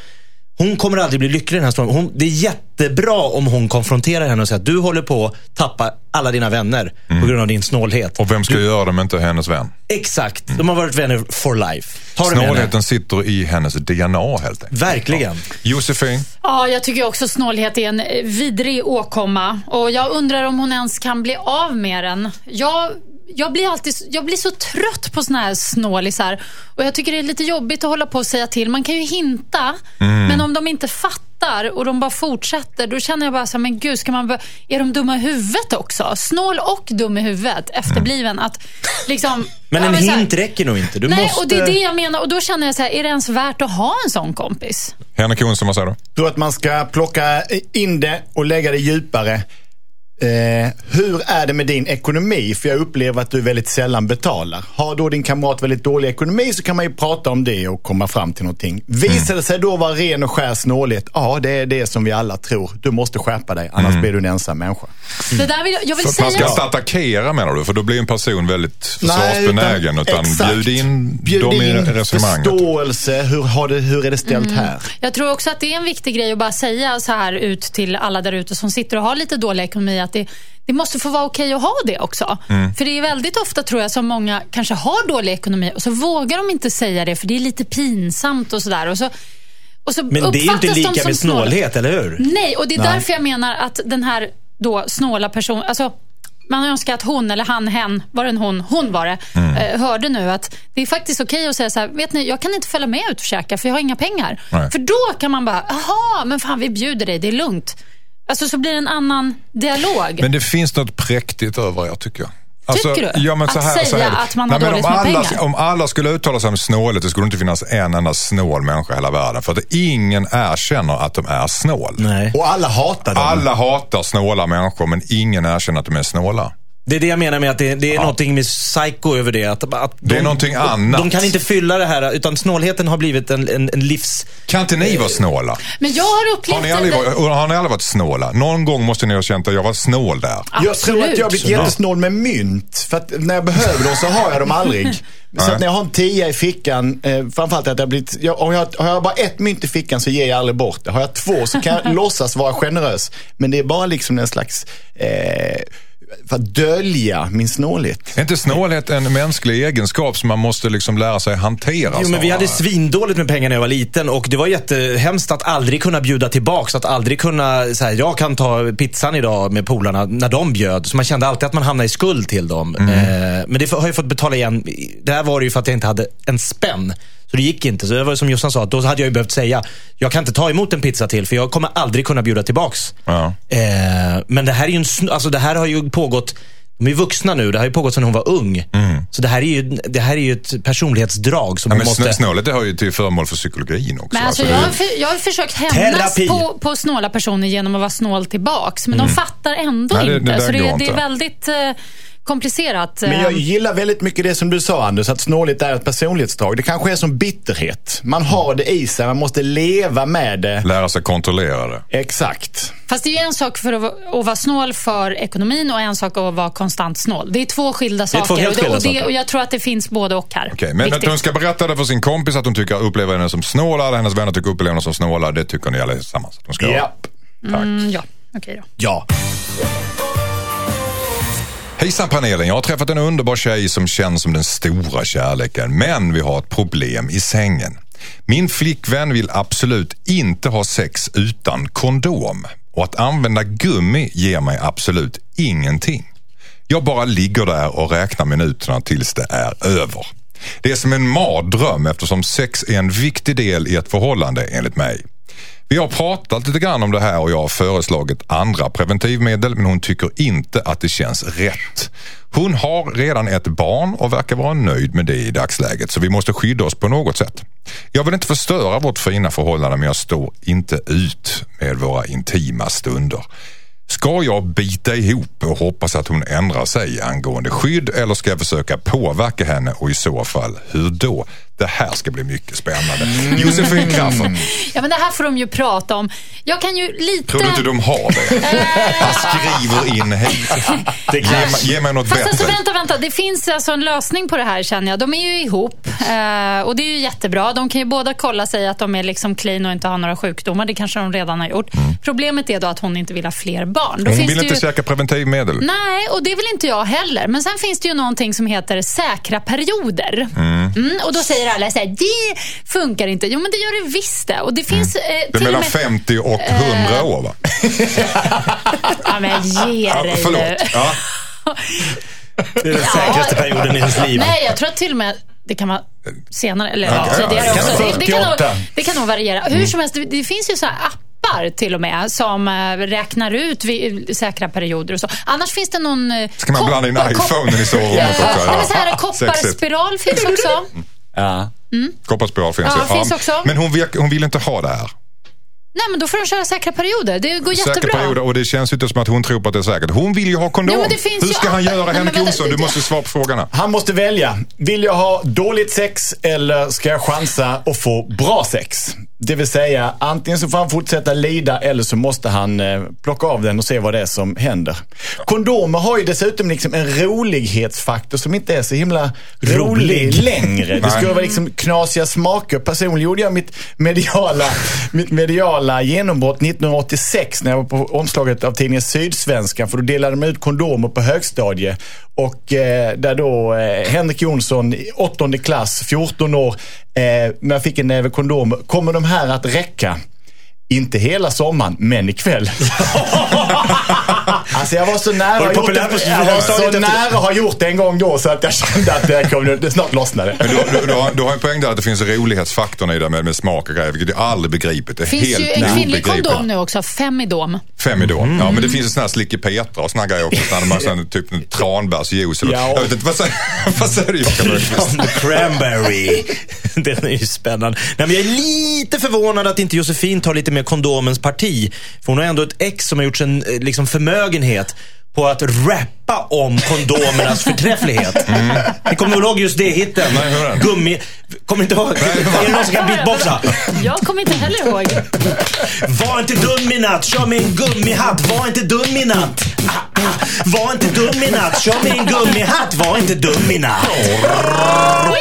Speaker 7: Hon kommer aldrig bli lycklig i den här stormen. Hon, det är jättebra om hon konfronterar henne och säger att du håller på att tappa alla dina vänner på grund av din snålhet.
Speaker 4: Och vem ska göra det om inte hennes vän?
Speaker 7: Exakt, de har varit vänner for life. Ta det med henne.
Speaker 4: Snålheten sitter i hennes DNA helt enkelt.
Speaker 7: Verkligen.
Speaker 4: Josefin,
Speaker 8: Ja, jag tycker också snålhet är en eh, vidrig åkomma. Och jag undrar om hon ens kan bli av med den. Jag, jag, blir, alltid, jag blir så trött på såna här snålisar. Och jag tycker det är lite jobbigt att hålla på och säga till. Man kan ju hinta,
Speaker 7: Mm.
Speaker 8: men om de inte fattar och de bara fortsätter, då känner jag bara så här, men gud, ska man bör- är de dumma i huvudet också? Snål och dum i huvudet, efterbliven. Att, liksom,
Speaker 7: Men
Speaker 8: ja,
Speaker 7: en
Speaker 8: så här-
Speaker 7: hint räcker nog inte. Du
Speaker 8: Nej,
Speaker 7: måste...
Speaker 8: och det är det jag menar. Och då känner jag så här, är det ens värt att ha en sån kompis?
Speaker 4: Henrik Jonsson, vad säger du?
Speaker 6: Jag tror att man ska plocka in det och lägga det djupare. Eh, hur är det med din ekonomi? För jag upplever att du väldigt sällan betalar. Har då din kamrat väldigt dålig ekonomi så kan man ju prata om det och komma fram till någonting. Visar det sig då vara ren och skär snålhet? Ja, det är det som vi alla tror. Du måste skärpa dig, annars
Speaker 4: Mm.
Speaker 6: blir du en ensam människa.
Speaker 7: Mm.
Speaker 8: Det där vill jag, jag vill
Speaker 4: För att
Speaker 8: säga
Speaker 4: man ska inte attackera menar du? För då blir en person väldigt
Speaker 6: Nej,
Speaker 4: försvarsbenägen. Utan,
Speaker 6: exakt.
Speaker 4: bjud in
Speaker 6: Bjud
Speaker 4: dem i
Speaker 6: in
Speaker 4: resonemanget.
Speaker 6: förståelse. Hur, har det, hur är det ställt här?
Speaker 8: Jag tror också att det är en viktig grej att bara säga så här ut till alla där ute som sitter och har lite dålig ekonomi att det, det måste få vara okej att ha det också.
Speaker 7: Mm.
Speaker 8: För det är väldigt ofta tror jag som många kanske har dålig ekonomi och så vågar de inte säga det för det är lite pinsamt och sådär. Och så, och så
Speaker 7: Men det är ju inte
Speaker 8: uppfattas de
Speaker 7: lika
Speaker 8: som
Speaker 7: med
Speaker 8: snåla.
Speaker 7: snålhet, eller hur?
Speaker 8: Nej, och det är därför jag menar att den här då snåla personen, alltså man önskar att hon eller han, hen, var det en hon, hon var det,
Speaker 4: Mm.
Speaker 8: eh, hörde nu att det är faktiskt okej att säga så här, vet ni, jag kan inte följa med ut och käka för jag har inga pengar.
Speaker 4: Nej.
Speaker 8: För då kan man bara, aha, men fan vi bjuder dig, det är lugnt. Alltså så blir det en annan dialog.
Speaker 4: Men det finns något präktigt över er tycker jag. Alltså,
Speaker 8: Tycker du?
Speaker 4: Ja, men så
Speaker 8: Att
Speaker 4: här, så
Speaker 8: säga
Speaker 4: här är det.
Speaker 8: att man har
Speaker 4: Nej, men
Speaker 8: dåligt
Speaker 4: om
Speaker 8: med
Speaker 4: alla,
Speaker 8: pengar?
Speaker 4: Om alla skulle uttala sig om snålhet, det skulle inte finnas en enda snål människa i hela världen. För att ingen erkänner att de är snål.
Speaker 7: Nej.
Speaker 6: Och alla hatar dem.
Speaker 4: Alla hatar snåla människor, men ingen erkänner att de är snåla.
Speaker 7: Det är det jag menar med att det, det är någonting med psycho över det. Att, att de,
Speaker 4: Det är någonting annat.
Speaker 7: De kan inte fylla det här, utan snålheten har blivit en, en, en livs...
Speaker 4: Kan inte ni vara snåla?
Speaker 8: Men jag har upplevt
Speaker 4: Har ni, aldrig varit, har ni aldrig varit snåla? Någon gång måste ni ha känt att jag var snål där.
Speaker 6: Jag tror att jag har blivit
Speaker 8: Absolut.
Speaker 6: jättesnål med mynt. För att när jag behöver dem så har jag dem aldrig. Så att när jag har en tia i fickan, eh, framförallt att jag har blivit, jag, om jag, har jag bara ett mynt i fickan så ger jag aldrig bort det. Har jag två så kan jag låtsas vara generös. Men det är bara liksom en slags, eh, för att dölja min snålhet.
Speaker 4: Är inte snålhet en mänsklig egenskap som man måste liksom lära sig hantera?
Speaker 7: Jo, men vi
Speaker 4: snarare?
Speaker 7: hade svindåligt med pengar när jag var liten och det var jättehemskt att aldrig kunna bjuda tillbaks. Att aldrig kunna, så här, jag kan ta pizzan idag med polarna när de bjöd. Så man kände alltid att man hamnade i skuld till dem. Eh, men det har jag fått betala igen. Det här var det ju för att jag inte hade en spänn. Så det gick inte. Så det var som Jossan sa, då hade jag ju behövt säga, jag kan inte ta emot en pizza till för jag kommer aldrig kunna bjuda tillbaks.
Speaker 4: Ja.
Speaker 7: Eh, men det här, är ju en, sn- alltså det här har ju pågått, de är ju vuxna nu, det har ju pågått sedan hon var ung. Så det här är ju, det här är ju ett personlighetsdrag som
Speaker 4: Ja,
Speaker 7: man
Speaker 4: men
Speaker 7: måste...
Speaker 4: måste... Snålet det hör ju till föremål för psykologin också.
Speaker 8: Men alltså,
Speaker 4: Alltså,
Speaker 8: jag,
Speaker 4: det-
Speaker 8: har för, jag har försökt hämnas
Speaker 7: Terapi.
Speaker 8: på, på snåla personer genom att vara snål tillbaks, men de fattar ändå
Speaker 4: Mm. Nej, det- det
Speaker 8: inte.
Speaker 4: där
Speaker 8: så det,
Speaker 4: går
Speaker 8: är- det
Speaker 4: inte.
Speaker 8: är väldigt eh, komplicerat.
Speaker 6: Men
Speaker 8: eh.
Speaker 6: jag gillar väldigt mycket det som du sa Anders, att snålhet är ett personlighetsdrag. Det kanske är som bitterhet. Man har det i sig, man måste leva med det.
Speaker 4: Lära sig kontrollera det.
Speaker 6: Exakt.
Speaker 8: Fast det är ju en sak för att, va- att vara snål för ekonomin och en sak att vara konstant snål. Det är två skilda
Speaker 7: är två
Speaker 8: saker.
Speaker 7: helt
Speaker 8: och, det,
Speaker 7: skilda
Speaker 8: och, det,
Speaker 7: saker.
Speaker 8: och jag tror att det finns både och här.
Speaker 4: Okej, men att
Speaker 8: Viktigt.
Speaker 4: hon ska berätta det för sin kompis att hon tycker upplever henne som snål, alla hennes vänner tycker upplever henne som snåla, det tycker ni allesammans att hon ska
Speaker 6: Ja.
Speaker 4: göra. Tack.
Speaker 8: Mm, ja, okej då.
Speaker 6: Ja.
Speaker 4: Hejsan panelen, jag har träffat en underbar tjej som känns som den stora kärleken, men vi har ett problem i sängen. Min flickvän vill absolut inte ha sex utan kondom och att använda gummi ger mig absolut ingenting. Jag bara ligger där och räknar minuterna tills det är över. Det är som en mardröm eftersom sex är en viktig del i ett förhållande enligt mig. Vi har pratat lite grann om det här och jag har föreslagit andra preventivmedel men hon tycker inte att det känns rätt. Hon har redan ett barn och verkar vara nöjd med det i dagsläget så vi måste skydda oss på något sätt. Jag vill inte förstöra vårt fina förhållande men jag står inte ut med våra intima stunder. Ska jag bita ihop och hoppas att hon ändrar sig angående skydd eller ska jag försöka påverka henne och i så fall hur då? Det här ska bli mycket spännande. Josefin Crafoord,
Speaker 8: Ja, men det här får de ju prata om. Jag kan ju lite...
Speaker 4: tror du inte de har det? Han skriver in hit. ge, mig- ge mig något
Speaker 8: Fast alltså,
Speaker 4: bättre.
Speaker 8: vänta, vänta. Det finns alltså en lösning på det här känner jag. De är ju ihop eh, och det är ju jättebra. De kan ju båda kolla sig att de är liksom clean och inte har några sjukdomar. Det kanske de redan har gjort. Problemet är då att hon inte vill ha fler barn. Då
Speaker 4: Mm. Hon
Speaker 8: finns
Speaker 4: vill
Speaker 8: det
Speaker 4: inte
Speaker 8: ju...
Speaker 4: käka preventivmedel.
Speaker 8: Nej, och det vill inte jag heller. Men sen finns det ju någonting som heter säkra perioder. Mm, och då säger alla så här, det funkar inte. Jo, men det gör det visst det. Och det finns eh,
Speaker 4: Det är
Speaker 8: till
Speaker 4: Mm.
Speaker 8: och
Speaker 4: mellan
Speaker 8: med... Eh.
Speaker 4: 50 och 100 år va?
Speaker 8: Ja, men ge
Speaker 4: Ja,
Speaker 8: dig nu.
Speaker 4: förlåt. Ja.
Speaker 7: Det är den säkraste perioden i ens liv.
Speaker 8: Nej, jag tror att till och med det kan vara senare eller
Speaker 4: Okej,
Speaker 8: tidigare
Speaker 4: ja, det kan
Speaker 8: också.
Speaker 4: vara Mm.
Speaker 8: Det, det, kan nog,
Speaker 6: 48.
Speaker 8: det kan nog variera. Hur som helst, det, det finns ju så här appar till och med som eh, räknar ut vi, säkra perioder och så. Annars finns det någon... eh,
Speaker 4: Ska man blanda in
Speaker 8: koppar- kopp-
Speaker 4: iPhone i sovrummet också?
Speaker 8: Ja, nej, men
Speaker 4: Ja.
Speaker 8: så här,
Speaker 4: Sexigt.
Speaker 8: kopparspiral finns också.
Speaker 6: Ja.
Speaker 4: Kopparspiral finns
Speaker 8: Ja,
Speaker 4: ju.
Speaker 8: finns också.
Speaker 4: Men hon, vill- hon vill inte ha det här.
Speaker 8: Nej, men då får de köra säkra perioder. Det går
Speaker 4: Säker
Speaker 8: jättebra.
Speaker 4: period och det känns ju inte som att hon tror på att det är säkert. Hon vill ju ha kondom.
Speaker 8: Jo, men det finns
Speaker 4: Hur
Speaker 8: ju
Speaker 4: ska han
Speaker 8: andra-
Speaker 4: göra
Speaker 8: Nej,
Speaker 4: Henrik
Speaker 8: men vänta,
Speaker 4: Jonsson? Du
Speaker 8: det-
Speaker 4: måste svara på frågorna.
Speaker 6: Han måste välja. Vill jag ha dåligt sex eller ska jag chansa och få bra sex? Det vill säga, antingen så får han fortsätta lida eller så måste han eh, plocka av den och se vad det är som händer. Kondomer har ju dessutom liksom en rolighetsfaktor som inte är så himla rolig längre. Det skulle vara liksom knasiga smaker. Personligen gjorde jag mitt mediala, mitt mediala genombrott 1986 när jag var på omslaget av tidningen Sydsvenskan. För då delade de ut kondomer på högstadiet. Och eh, där då eh, Henrik Jonsson i åttonde klass, 14 år, eh, när jag fick en näve kondomer. Kommer de här att räcka? Inte hela sommaren, men ikväll. alltså jag var så nära
Speaker 7: Var det
Speaker 6: att ha gjort
Speaker 7: populärt på
Speaker 6: det- jag var
Speaker 7: högstadiet
Speaker 6: så
Speaker 7: efter-
Speaker 6: nära att ha gjort det en gång då så att jag kände att det, kom, det snart lossnade.
Speaker 4: Men du, du, du, har, du har en poäng där att det finns rolighetsfaktorn i det med, med smak och grejer, vilket jag aldrig begripit. Det är
Speaker 8: Det finns
Speaker 4: helt
Speaker 8: ju en kvinnlig
Speaker 4: obegripligt.
Speaker 8: kondom nu också, Femidom.
Speaker 4: Femidon. Ja, men det finns en sån här Slicky Petra och såna här grejer också. Sån här, man, sån, typ en tranbärsjuice. eller-
Speaker 6: Ja.
Speaker 4: Jag vet inte, vad säger, vad säger du Jakob Öqvist?
Speaker 7: From the cranberry. Den är ju spännande. Nej, men jag är lite förvånad att inte Josefin tar lite mer kondomens parti. För hon har ändå ett ex som har gjort sin eh, liksom, förmögenhet på att rappa om kondomernas förträfflighet. Ni kommer väl ihåg just det hitten?
Speaker 4: Nej, hur är den?
Speaker 7: Gummi... Kommer inte ihåg? Är det någon som kan beatboxa?
Speaker 8: Jag kommer inte heller ihåg.
Speaker 7: Var inte dum i natt, kör med en gummihatt. Var inte dum i natt. Ah, ah. Var inte dum i natt, kör med en gummihatt. Var inte dum i natt.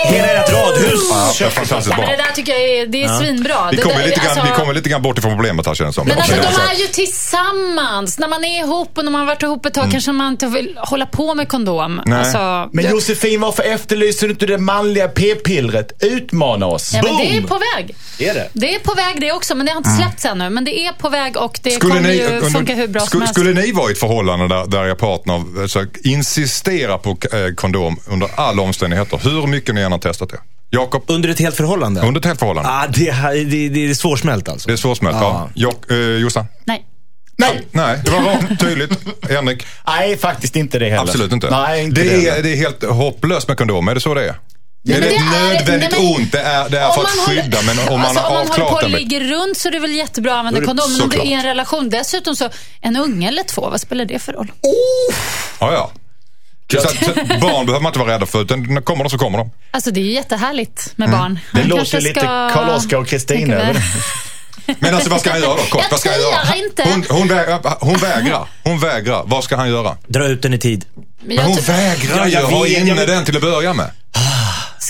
Speaker 7: Hela ert radhus.
Speaker 4: Ja, det är fantastiskt
Speaker 8: Men
Speaker 4: bra.
Speaker 8: det där tycker jag är, det är svinbra.
Speaker 4: Vi
Speaker 8: Det
Speaker 4: kommer,
Speaker 8: där-
Speaker 4: lite grann,
Speaker 8: alltså-
Speaker 4: vi kommer lite grann bort ifrån problemet här känns det som.
Speaker 8: Men alltså,
Speaker 4: Men det är
Speaker 8: de
Speaker 4: så här-
Speaker 8: är ju tillsammans. När man är ihop och när man har varit ihop ett tag kanske man inte vill hålla på med kondom.
Speaker 4: Mm. Nej.
Speaker 8: Alltså,
Speaker 6: Men
Speaker 8: det-
Speaker 6: Josefin, varför efterlyser du inte det manliga p-pillret? Utmana oss!
Speaker 8: ja, men det är
Speaker 6: Boom!
Speaker 8: på väg.
Speaker 7: Är det?
Speaker 8: Det är på väg det också, men det har inte släppts ännu. Men det är på väg och det
Speaker 4: Mm. Skulle
Speaker 8: kommer
Speaker 4: ni,
Speaker 8: ju
Speaker 4: under-
Speaker 8: funka hur bra
Speaker 4: sku-
Speaker 8: som helst.
Speaker 4: skulle ni vara i ett förhållande där, där er partner alltså, insisterar på eh, kondom under alla omständigheter, hur mycket ni än har testat det? Jakob,
Speaker 7: Under ett helt förhållande?
Speaker 4: under ett helt förhållande?
Speaker 7: ah, det, här- det, det är svårsmält alltså.
Speaker 4: Det är svårsmält. Ja. Jak- eh, Jossan?
Speaker 8: Nej.
Speaker 6: Nej!
Speaker 4: Nej, det var rakt, tydligt. Henrik?
Speaker 6: Nej, faktiskt inte det heller.
Speaker 4: Absolut inte.
Speaker 6: Nej, inte det,
Speaker 4: det,
Speaker 6: heller.
Speaker 4: är, det är helt hopplöst med kondom, är det så det är? är
Speaker 8: men
Speaker 4: det,
Speaker 8: det är-
Speaker 4: nödvändigt
Speaker 8: nej, men-
Speaker 4: ont? Det är, det är
Speaker 8: Om
Speaker 4: för att
Speaker 8: man håller-
Speaker 4: skydda, men om man
Speaker 8: alltså,
Speaker 4: har
Speaker 8: om man håller på
Speaker 4: avklarat
Speaker 8: och
Speaker 4: det.
Speaker 8: ligger runt så är det väl jättebra att använda kondom. Men om det är i en relation dessutom så, en unge eller två, vad spelar det för roll?
Speaker 4: Ja, ja. Så att, så att barn behöver man inte vara rädda för, utan när kommer de så kommer de.
Speaker 8: Alltså det är ju jättehärligt
Speaker 4: Mm.
Speaker 8: med barn.
Speaker 6: Det
Speaker 8: Han
Speaker 6: låter
Speaker 8: kanske
Speaker 6: lite
Speaker 8: ska-
Speaker 6: Karl-Oskar och Kristina
Speaker 8: tänka
Speaker 6: över
Speaker 8: väl.
Speaker 4: Men alltså vad ska han göra då? Kort,
Speaker 8: Jag
Speaker 4: vad ska han
Speaker 8: säger
Speaker 4: göra?
Speaker 8: inte.
Speaker 4: Hon, hon, vägrar, hon vägrar. Hon vägrar. Vad ska han göra?
Speaker 7: Dra ut den i tid.
Speaker 8: Men
Speaker 4: Men
Speaker 8: jag
Speaker 4: hon
Speaker 8: tror-
Speaker 4: vägrar
Speaker 7: Ja,
Speaker 4: ju
Speaker 7: jag
Speaker 4: ha
Speaker 7: vet,
Speaker 4: inne
Speaker 7: jag vet.
Speaker 4: den till att börja med.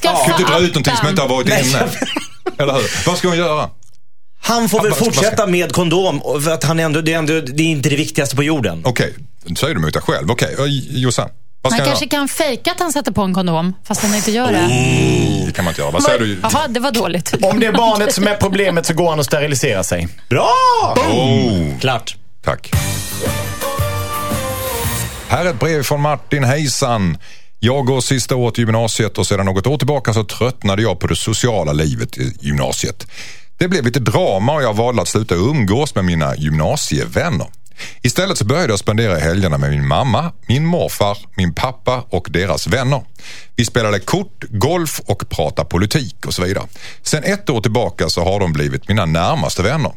Speaker 8: Skaffa
Speaker 4: Kan inte dra ut någonting som
Speaker 8: appen.
Speaker 4: inte har varit
Speaker 7: Nej,
Speaker 4: inne. Eller hur? Vad ska hon göra?
Speaker 7: Han får väl
Speaker 4: vad ska- vad
Speaker 7: fortsätta med kondom, och för att han är ändå, det, är ändå, det är inte det viktigaste på jorden.
Speaker 4: Okej, säger du emot dig själv. Okej, Oj, Jossan. Vad ska
Speaker 8: Han
Speaker 4: han
Speaker 8: kanske
Speaker 4: göra?
Speaker 8: kan fejka att han sätter på en kondom fast han inte gör det.
Speaker 4: Det kan man inte göra. Vad säger Oh, du?
Speaker 8: Jaha, det var dåligt.
Speaker 6: Om det är barnet som är problemet så går han och steriliserar sig.
Speaker 7: Bra!
Speaker 4: Oh.
Speaker 7: Klart.
Speaker 4: Tack. Här är ett brev från Martin. Hejsan! Jag går sista året i gymnasiet och sedan något år tillbaka så tröttnade jag på det sociala livet i gymnasiet. Det blev lite drama och jag valde att sluta umgås med mina gymnasievänner. Istället så började jag spendera helgerna med min mamma, min morfar, min pappa och deras vänner. Vi spelade kort, golf och pratade politik och så vidare. Sen ett år tillbaka så har de blivit mina närmaste vänner.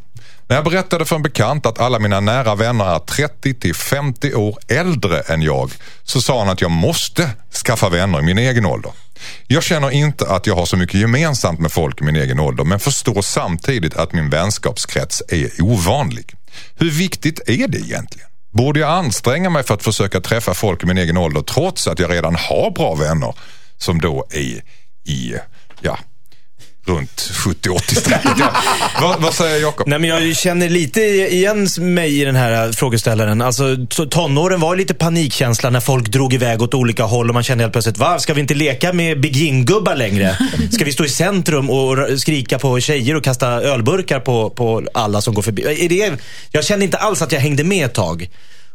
Speaker 4: När jag berättade för en bekant att alla mina nära vänner är 30 till 50 år äldre än jag så sa han att jag måste skaffa vänner i min egen ålder. Jag känner inte att jag har så mycket gemensamt med folk i min egen ålder men förstår samtidigt att min vänskapskrets är ovanlig. Hur viktigt är det egentligen? Borde jag anstränga mig för att försöka träffa folk i min egen ålder trots att jag redan har bra vänner som då är i, ja, runt 70-80-strecket? Ja. Vad, vad säger Jakob?
Speaker 7: Nej, men jag känner lite igen mig i den här eh, frågeställaren. Alltså, t- tonåren var ju lite panikkänsla när folk drog iväg åt olika håll och man kände helt plötsligt, va? Ska vi inte leka med begin-gubbar längre? Ska vi stå i centrum och r- skrika på tjejer och kasta ölburkar på, på alla som går förbi? Är det, jag kände inte alls att jag hängde med ett tag.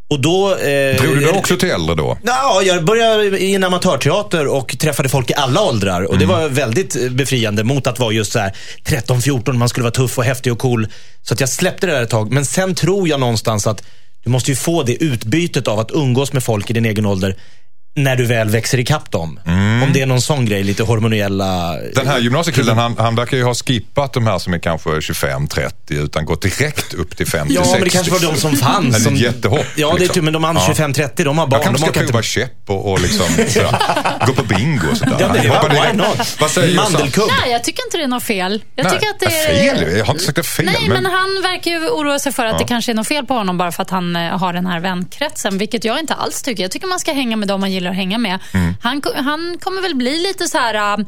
Speaker 7: Och då... Eh,
Speaker 4: Drog du dig också till äldre då?
Speaker 7: Ja, jag började i en amatörteater och träffade folk i alla åldrar. Och
Speaker 4: Mm.
Speaker 7: det var väldigt eh, befriande mot att vara just så här 13-14, man skulle vara tuff och häftig och cool. Så att jag släppte det där ett tag. Men sen tror jag någonstans att du måste ju få det utbytet av att umgås med folk i din egen ålder när du väl växer ikapp dem. Om det är någon sån grej, lite hormoniella...
Speaker 4: Mm. Den här gymnasiekillen, han, han verkar ju ha skippat de här som är kanske 25-30 utan gått direkt upp till 50-60.
Speaker 7: Ja, men det kanske var de som fanns.
Speaker 4: Det är
Speaker 7: som...
Speaker 4: ett liksom. jättehopp.
Speaker 7: Ja, det är
Speaker 4: liksom.
Speaker 7: tur. Men de andra
Speaker 4: Ja.
Speaker 7: 25-30, de har barn.
Speaker 4: Jag kanske
Speaker 7: de orkar
Speaker 4: ska prova käpp och, och liksom, sådär, gå på bingo och sådär.
Speaker 7: Ja, men,
Speaker 4: Han hoppar
Speaker 7: why
Speaker 4: direkt.
Speaker 7: not?
Speaker 4: Vad säger Jossan?
Speaker 7: Mandelkubb.
Speaker 8: Nej, jag tycker inte det är något fel. Jag
Speaker 4: Nej,
Speaker 8: tycker att det är...
Speaker 4: Fel? Jag har inte sagt det fel.
Speaker 8: Nej, men han verkar ju oroa sig för att det kanske är något fel på honom bara för att han eh, har den här vänkretsen, vilket jag inte alls tycker. Jag tycker man ska hänga med dem man gillar att hänga med.
Speaker 4: Mm.
Speaker 8: Han, ko- han kommer väl bli lite så här, äh,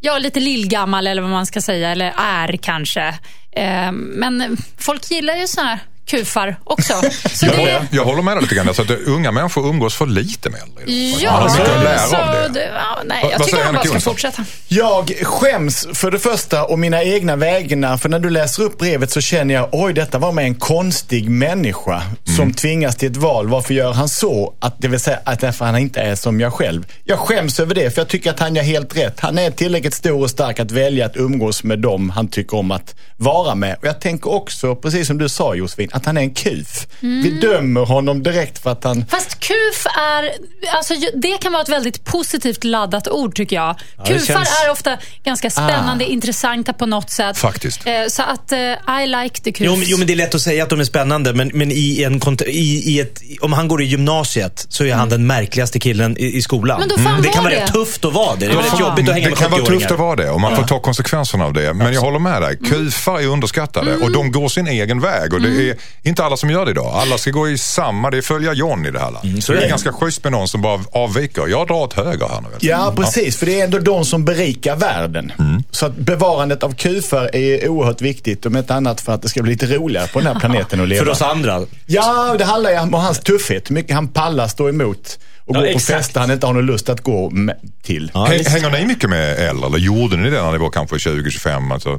Speaker 8: ja, lite lillgammal eller vad man ska säga, eller är kanske. Eh, Men eh, folk gillar ju såna här kufar också. Så
Speaker 4: jag,
Speaker 8: det,
Speaker 4: håller, jag håller med dig lite grann. Alltså, att unga människor umgås för lite med äldre. idag.
Speaker 8: ja,
Speaker 4: Man har mycket att lära
Speaker 8: så
Speaker 4: av det.
Speaker 8: det- ja, nej,
Speaker 4: Vad-
Speaker 8: jag
Speaker 4: vad
Speaker 8: tycker
Speaker 4: säger
Speaker 8: han
Speaker 4: Henrik
Speaker 8: bara ska
Speaker 4: Jonsson?
Speaker 8: fortsätta.
Speaker 6: Jag skäms för det första om mina egna vägnar. För när du läser upp brevet så känner jag, oj detta var med en konstig människa som tvingas till ett val. Varför gör han så? Att, det vill säga att därför han inte är som jag själv. Jag skäms över det för jag tycker att han gör helt rätt. Han är tillräckligt stor och stark att välja att umgås med dem han tycker om att vara med. Och jag tänker också, precis som du sa Josefin, att han är en kuf. Vi dömer honom direkt för att han
Speaker 8: Fast kuf är, alltså, ju- det kan vara ett väldigt positivt laddat ord tycker jag.
Speaker 7: det
Speaker 8: Kufar
Speaker 7: känns-
Speaker 8: är ofta ganska spännande, intressanta på något sätt.
Speaker 4: Faktiskt.
Speaker 8: Eh, så att eh, I like the kuf.
Speaker 7: Jo, men- jo, men det är lätt att säga att de är spännande, men, men i en, kont- i, i ett, om han går i gymnasiet så är han den märkliga killen i, i skolan.
Speaker 8: Mm.
Speaker 7: Mm.
Speaker 8: Men då får han
Speaker 7: Det kan
Speaker 8: vara
Speaker 7: vara rätt
Speaker 8: det.
Speaker 7: tufft att vara det. Det är väldigt
Speaker 8: Ja.
Speaker 7: jobbigt att hänga
Speaker 4: Det
Speaker 7: med
Speaker 4: kan vara tufft att
Speaker 7: 70-åringar.
Speaker 4: vara det och man får ta konsekvenserna av det. Men jag håller med dig. Kufar är underskattade och de går sin egen väg. Och
Speaker 7: Mm.
Speaker 4: det är inte alla som gör det idag. Alla ska gå i samma, det är följa John i det här landet.
Speaker 7: Mm, så
Speaker 4: det
Speaker 7: är
Speaker 4: är
Speaker 7: det.
Speaker 4: ganska schysst med någon som bara avviker. Jag drar åt höger här nu.
Speaker 6: Ja, precis. För det är ändå de som berikar världen. Så att bevarandet av kufar är oerhört viktigt, om inte annat för att det ska bli lite roligare på den här planeten att
Speaker 7: För
Speaker 6: leva.
Speaker 7: oss andra.
Speaker 6: Ja, det handlar ju om hans tuffhet. Hur mycket han pallar stå emot och
Speaker 7: Ja,
Speaker 6: gå på
Speaker 7: exakt.
Speaker 6: fester han inte har någon lust att gå med, till.
Speaker 4: Häng, hänger ni mycket med äldre? Eller gjorde ni det när ni var kanske 20-25? Alltså,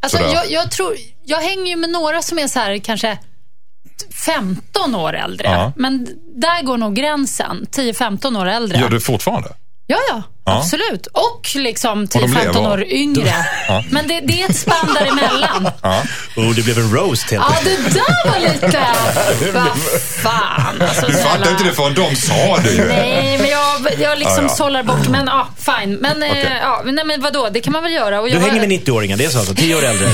Speaker 8: alltså,
Speaker 4: sådär.
Speaker 8: jag, jag, tror, jag hänger ju med några som är så här kanske 15 år äldre.
Speaker 4: Ja.
Speaker 8: Men där går nog gränsen. 10-15 år äldre.
Speaker 4: Gör du det fortfarande?
Speaker 8: Ja, ja.
Speaker 4: Ja.
Speaker 8: Absolut. Och liksom
Speaker 4: de lever.
Speaker 8: 10-15 år yngre. Men det, det är ett spann däremellan.
Speaker 7: Oh, det blev en roast helt
Speaker 8: Ja, det där var lite... Vad fan. Alltså,
Speaker 4: Du fattar
Speaker 8: snälla.
Speaker 4: inte det förrän de sa det ju.
Speaker 8: Nej, men jag, jag liksom
Speaker 4: Ja, ja.
Speaker 8: sållar bort. Men ja, fine. Men, eh,
Speaker 4: Okej.
Speaker 8: ja, men nej, men vadå, det kan man väl göra. Och jag
Speaker 7: Du hänger med
Speaker 8: var-
Speaker 7: 90-åringar, det är så alltså. 10 år äldre.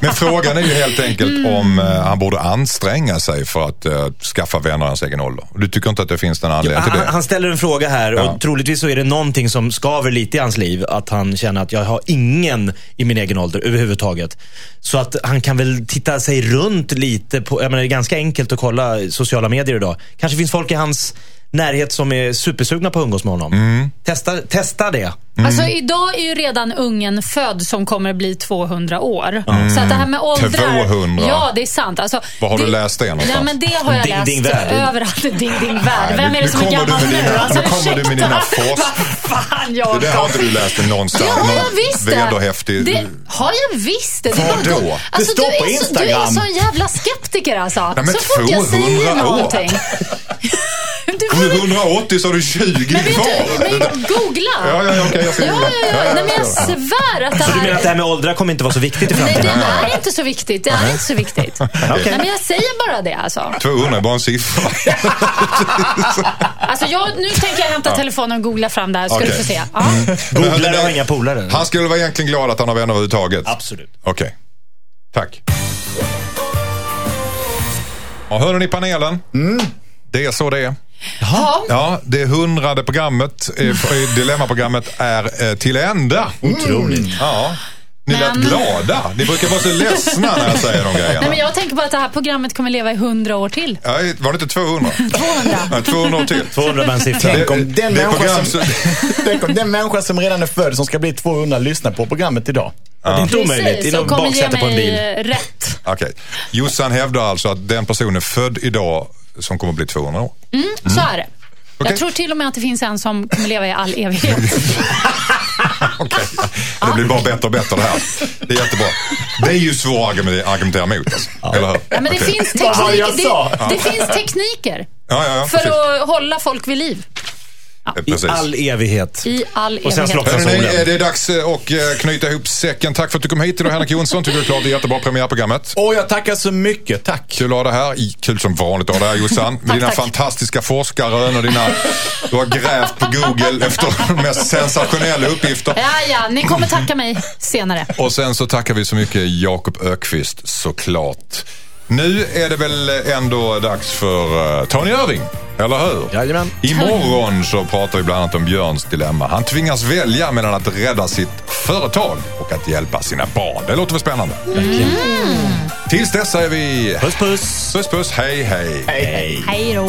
Speaker 4: Men frågan är ju helt enkelt
Speaker 7: Mm.
Speaker 4: om eh, han borde anstränga sig för att eh, skaffa vänner i hans egen ålder. Du tycker inte att det finns någon anledning till
Speaker 7: Ah, Han,
Speaker 4: det?
Speaker 7: han ställer en fråga här
Speaker 4: Ja.
Speaker 7: och troligtvis så är det någonting som skaver lite i hans liv. Att han känner att jag har ingen i min egen ålder överhuvudtaget. Så att han kan väl titta sig runt lite. På, jag menar, det är ganska enkelt att kolla sociala medier idag. Kanske finns folk i hans närhet som är supersugna på att umgås med honom.
Speaker 4: Mm.
Speaker 7: Testa, testa det.
Speaker 8: Alltså,
Speaker 7: Mm.
Speaker 8: idag är ju redan ungen född som kommer bli 200 år.
Speaker 4: Mm.
Speaker 8: Så att det här med åldrar...
Speaker 4: 200.
Speaker 8: Ja, det är sant. Alltså,
Speaker 4: Var Typ har
Speaker 8: det,
Speaker 4: du läst det någonstans?
Speaker 8: Ja, men det har jag
Speaker 7: Ding,
Speaker 8: läst
Speaker 7: ding, värld.
Speaker 8: överallt. Ding, ding, värld.
Speaker 4: Nej,
Speaker 8: Vem
Speaker 4: nu-
Speaker 8: är det som
Speaker 4: nu
Speaker 8: är
Speaker 4: kommer du
Speaker 8: gammal
Speaker 4: med
Speaker 8: nu?
Speaker 4: dina-
Speaker 8: Alltså,
Speaker 4: nu kommer du med dina
Speaker 8: ursäkta.
Speaker 4: fors-
Speaker 8: Vad fan, Jakob.
Speaker 4: Det där har inte du läst det
Speaker 8: Det
Speaker 4: någonstans.
Speaker 8: har jag
Speaker 4: Någon
Speaker 8: visst det.
Speaker 4: Vred och häftig.
Speaker 8: Det har jag visst det. det. är
Speaker 4: Vadå?
Speaker 8: bara att-
Speaker 4: Det
Speaker 8: Alltså,
Speaker 6: står
Speaker 8: du
Speaker 6: på
Speaker 8: är så- Du är
Speaker 6: Instagram.
Speaker 8: en sån jävla skeptiker alltså.
Speaker 4: Nej, men
Speaker 8: så fort jag
Speaker 4: 200
Speaker 8: säger
Speaker 4: år.
Speaker 8: någonting. du
Speaker 4: Om du är
Speaker 8: får-
Speaker 4: 180 så har du 20
Speaker 8: Men vet du,
Speaker 4: kvar.
Speaker 8: men googla.
Speaker 4: Ja, ja, ja, okej, jag ska
Speaker 8: ja,
Speaker 4: googla.
Speaker 8: ja, ja.
Speaker 4: Ja, ja,
Speaker 8: Nej, men jag
Speaker 4: ja.
Speaker 8: svär att det
Speaker 7: Så du menar att det här
Speaker 8: här...
Speaker 7: med åldrar kommer inte vara så viktigt i
Speaker 8: Nej,
Speaker 7: framtiden?
Speaker 8: det är inte så viktigt. Det är inte så viktigt. Nej, men jag säger bara det alltså.
Speaker 4: 200 är bara en siffra.
Speaker 8: alltså jag, nu tänker jag hämta telefonen och googla fram det här, ska
Speaker 4: Okej. Mm.
Speaker 8: du få se. Ja.
Speaker 7: Googlare har inga polare.
Speaker 4: Han skulle vara egentligen glad att han har vänner överhuvudtaget.
Speaker 7: Absolut.
Speaker 4: Okej. Tack. Ja, hör ni panelen? Det är så det är.
Speaker 8: Ja.
Speaker 4: Ja, det hundrade programmet, eh, f- dilemmaprogrammet, är eh, till ända.
Speaker 6: Mm.
Speaker 7: Otroligt.
Speaker 4: Ja. Ni lät
Speaker 8: Men-
Speaker 4: glada. Ni brukar vara så ledsna när jag säger de grejerna.
Speaker 8: Nej, men jag tänker på att det här programmet kommer leva i hundra år till.
Speaker 4: Nej, Var det inte 200? 200. Nej, 200 år till.
Speaker 7: 200 var en siffra.
Speaker 6: Tänk om,
Speaker 4: Det är
Speaker 6: den människan
Speaker 4: program
Speaker 6: som,
Speaker 4: som-
Speaker 6: tänk om den människan som redan är född som ska bli 200 lyssnar på programmet idag.
Speaker 7: Det är inte omöjligt.
Speaker 8: Precis,
Speaker 7: Inom
Speaker 8: som kommer ge
Speaker 7: baksätet på en bil.
Speaker 8: mig rätt.
Speaker 4: Okej. Jossan hävdar alltså att den personen är född idag som kommer att bli 200 år.
Speaker 8: Mm, Så är det.
Speaker 4: Okej.
Speaker 8: Jag tror till och med att det finns en som kommer leva i all evighet.
Speaker 4: Okej. Det blir bara bättre och bättre det här. Det är jättebra. Det är ju svårt att argumen- argumentera mot. Alltså. Eller hur?
Speaker 8: Ja, men det,
Speaker 4: Okej.
Speaker 8: finns
Speaker 6: Vad var det
Speaker 8: teknik,
Speaker 6: jag sa?
Speaker 8: det, det finns tekniker
Speaker 4: Ja, ja, ja.
Speaker 8: för
Speaker 4: precis.
Speaker 8: att hålla folk vid liv
Speaker 7: I
Speaker 4: Precis.
Speaker 7: all evighet.
Speaker 8: i all
Speaker 7: Och sen
Speaker 8: evighet.
Speaker 7: slocknar
Speaker 4: Hörrni,
Speaker 7: solen.
Speaker 4: eh, det är dags eh, att eh, knyta ihop säcken. Tack för att du kom hit idag Henrik Jonsson. Tycker du är klart det är jättebra premiärprogrammet.
Speaker 6: Och jag tackar så mycket. Tack.
Speaker 4: Kul att ha det här. I- Kul som vanligt att ha det här Jossan. Med dina
Speaker 8: tack.
Speaker 4: fantastiska forskarrön och dina... Du har grävt på Google efter de mest sensationella uppgifter.
Speaker 8: Ja, ja, ni kommer tacka mig senare.
Speaker 4: Och sen så tackar vi så mycket Jakob Ökvist såklart. Nu är det väl ändå dags för eh, Tony Irving, eller hur?
Speaker 7: Jajamän.
Speaker 4: Imorgon så pratar vi bland annat om Björns dilemma. Han tvingas välja mellan att rädda sitt företag och att hjälpa sina barn. Det låter väl spännande?
Speaker 8: Mm.
Speaker 4: Tills dess är vi...
Speaker 7: Puss puss.
Speaker 4: Puss puss, hej hej.
Speaker 8: Hej då.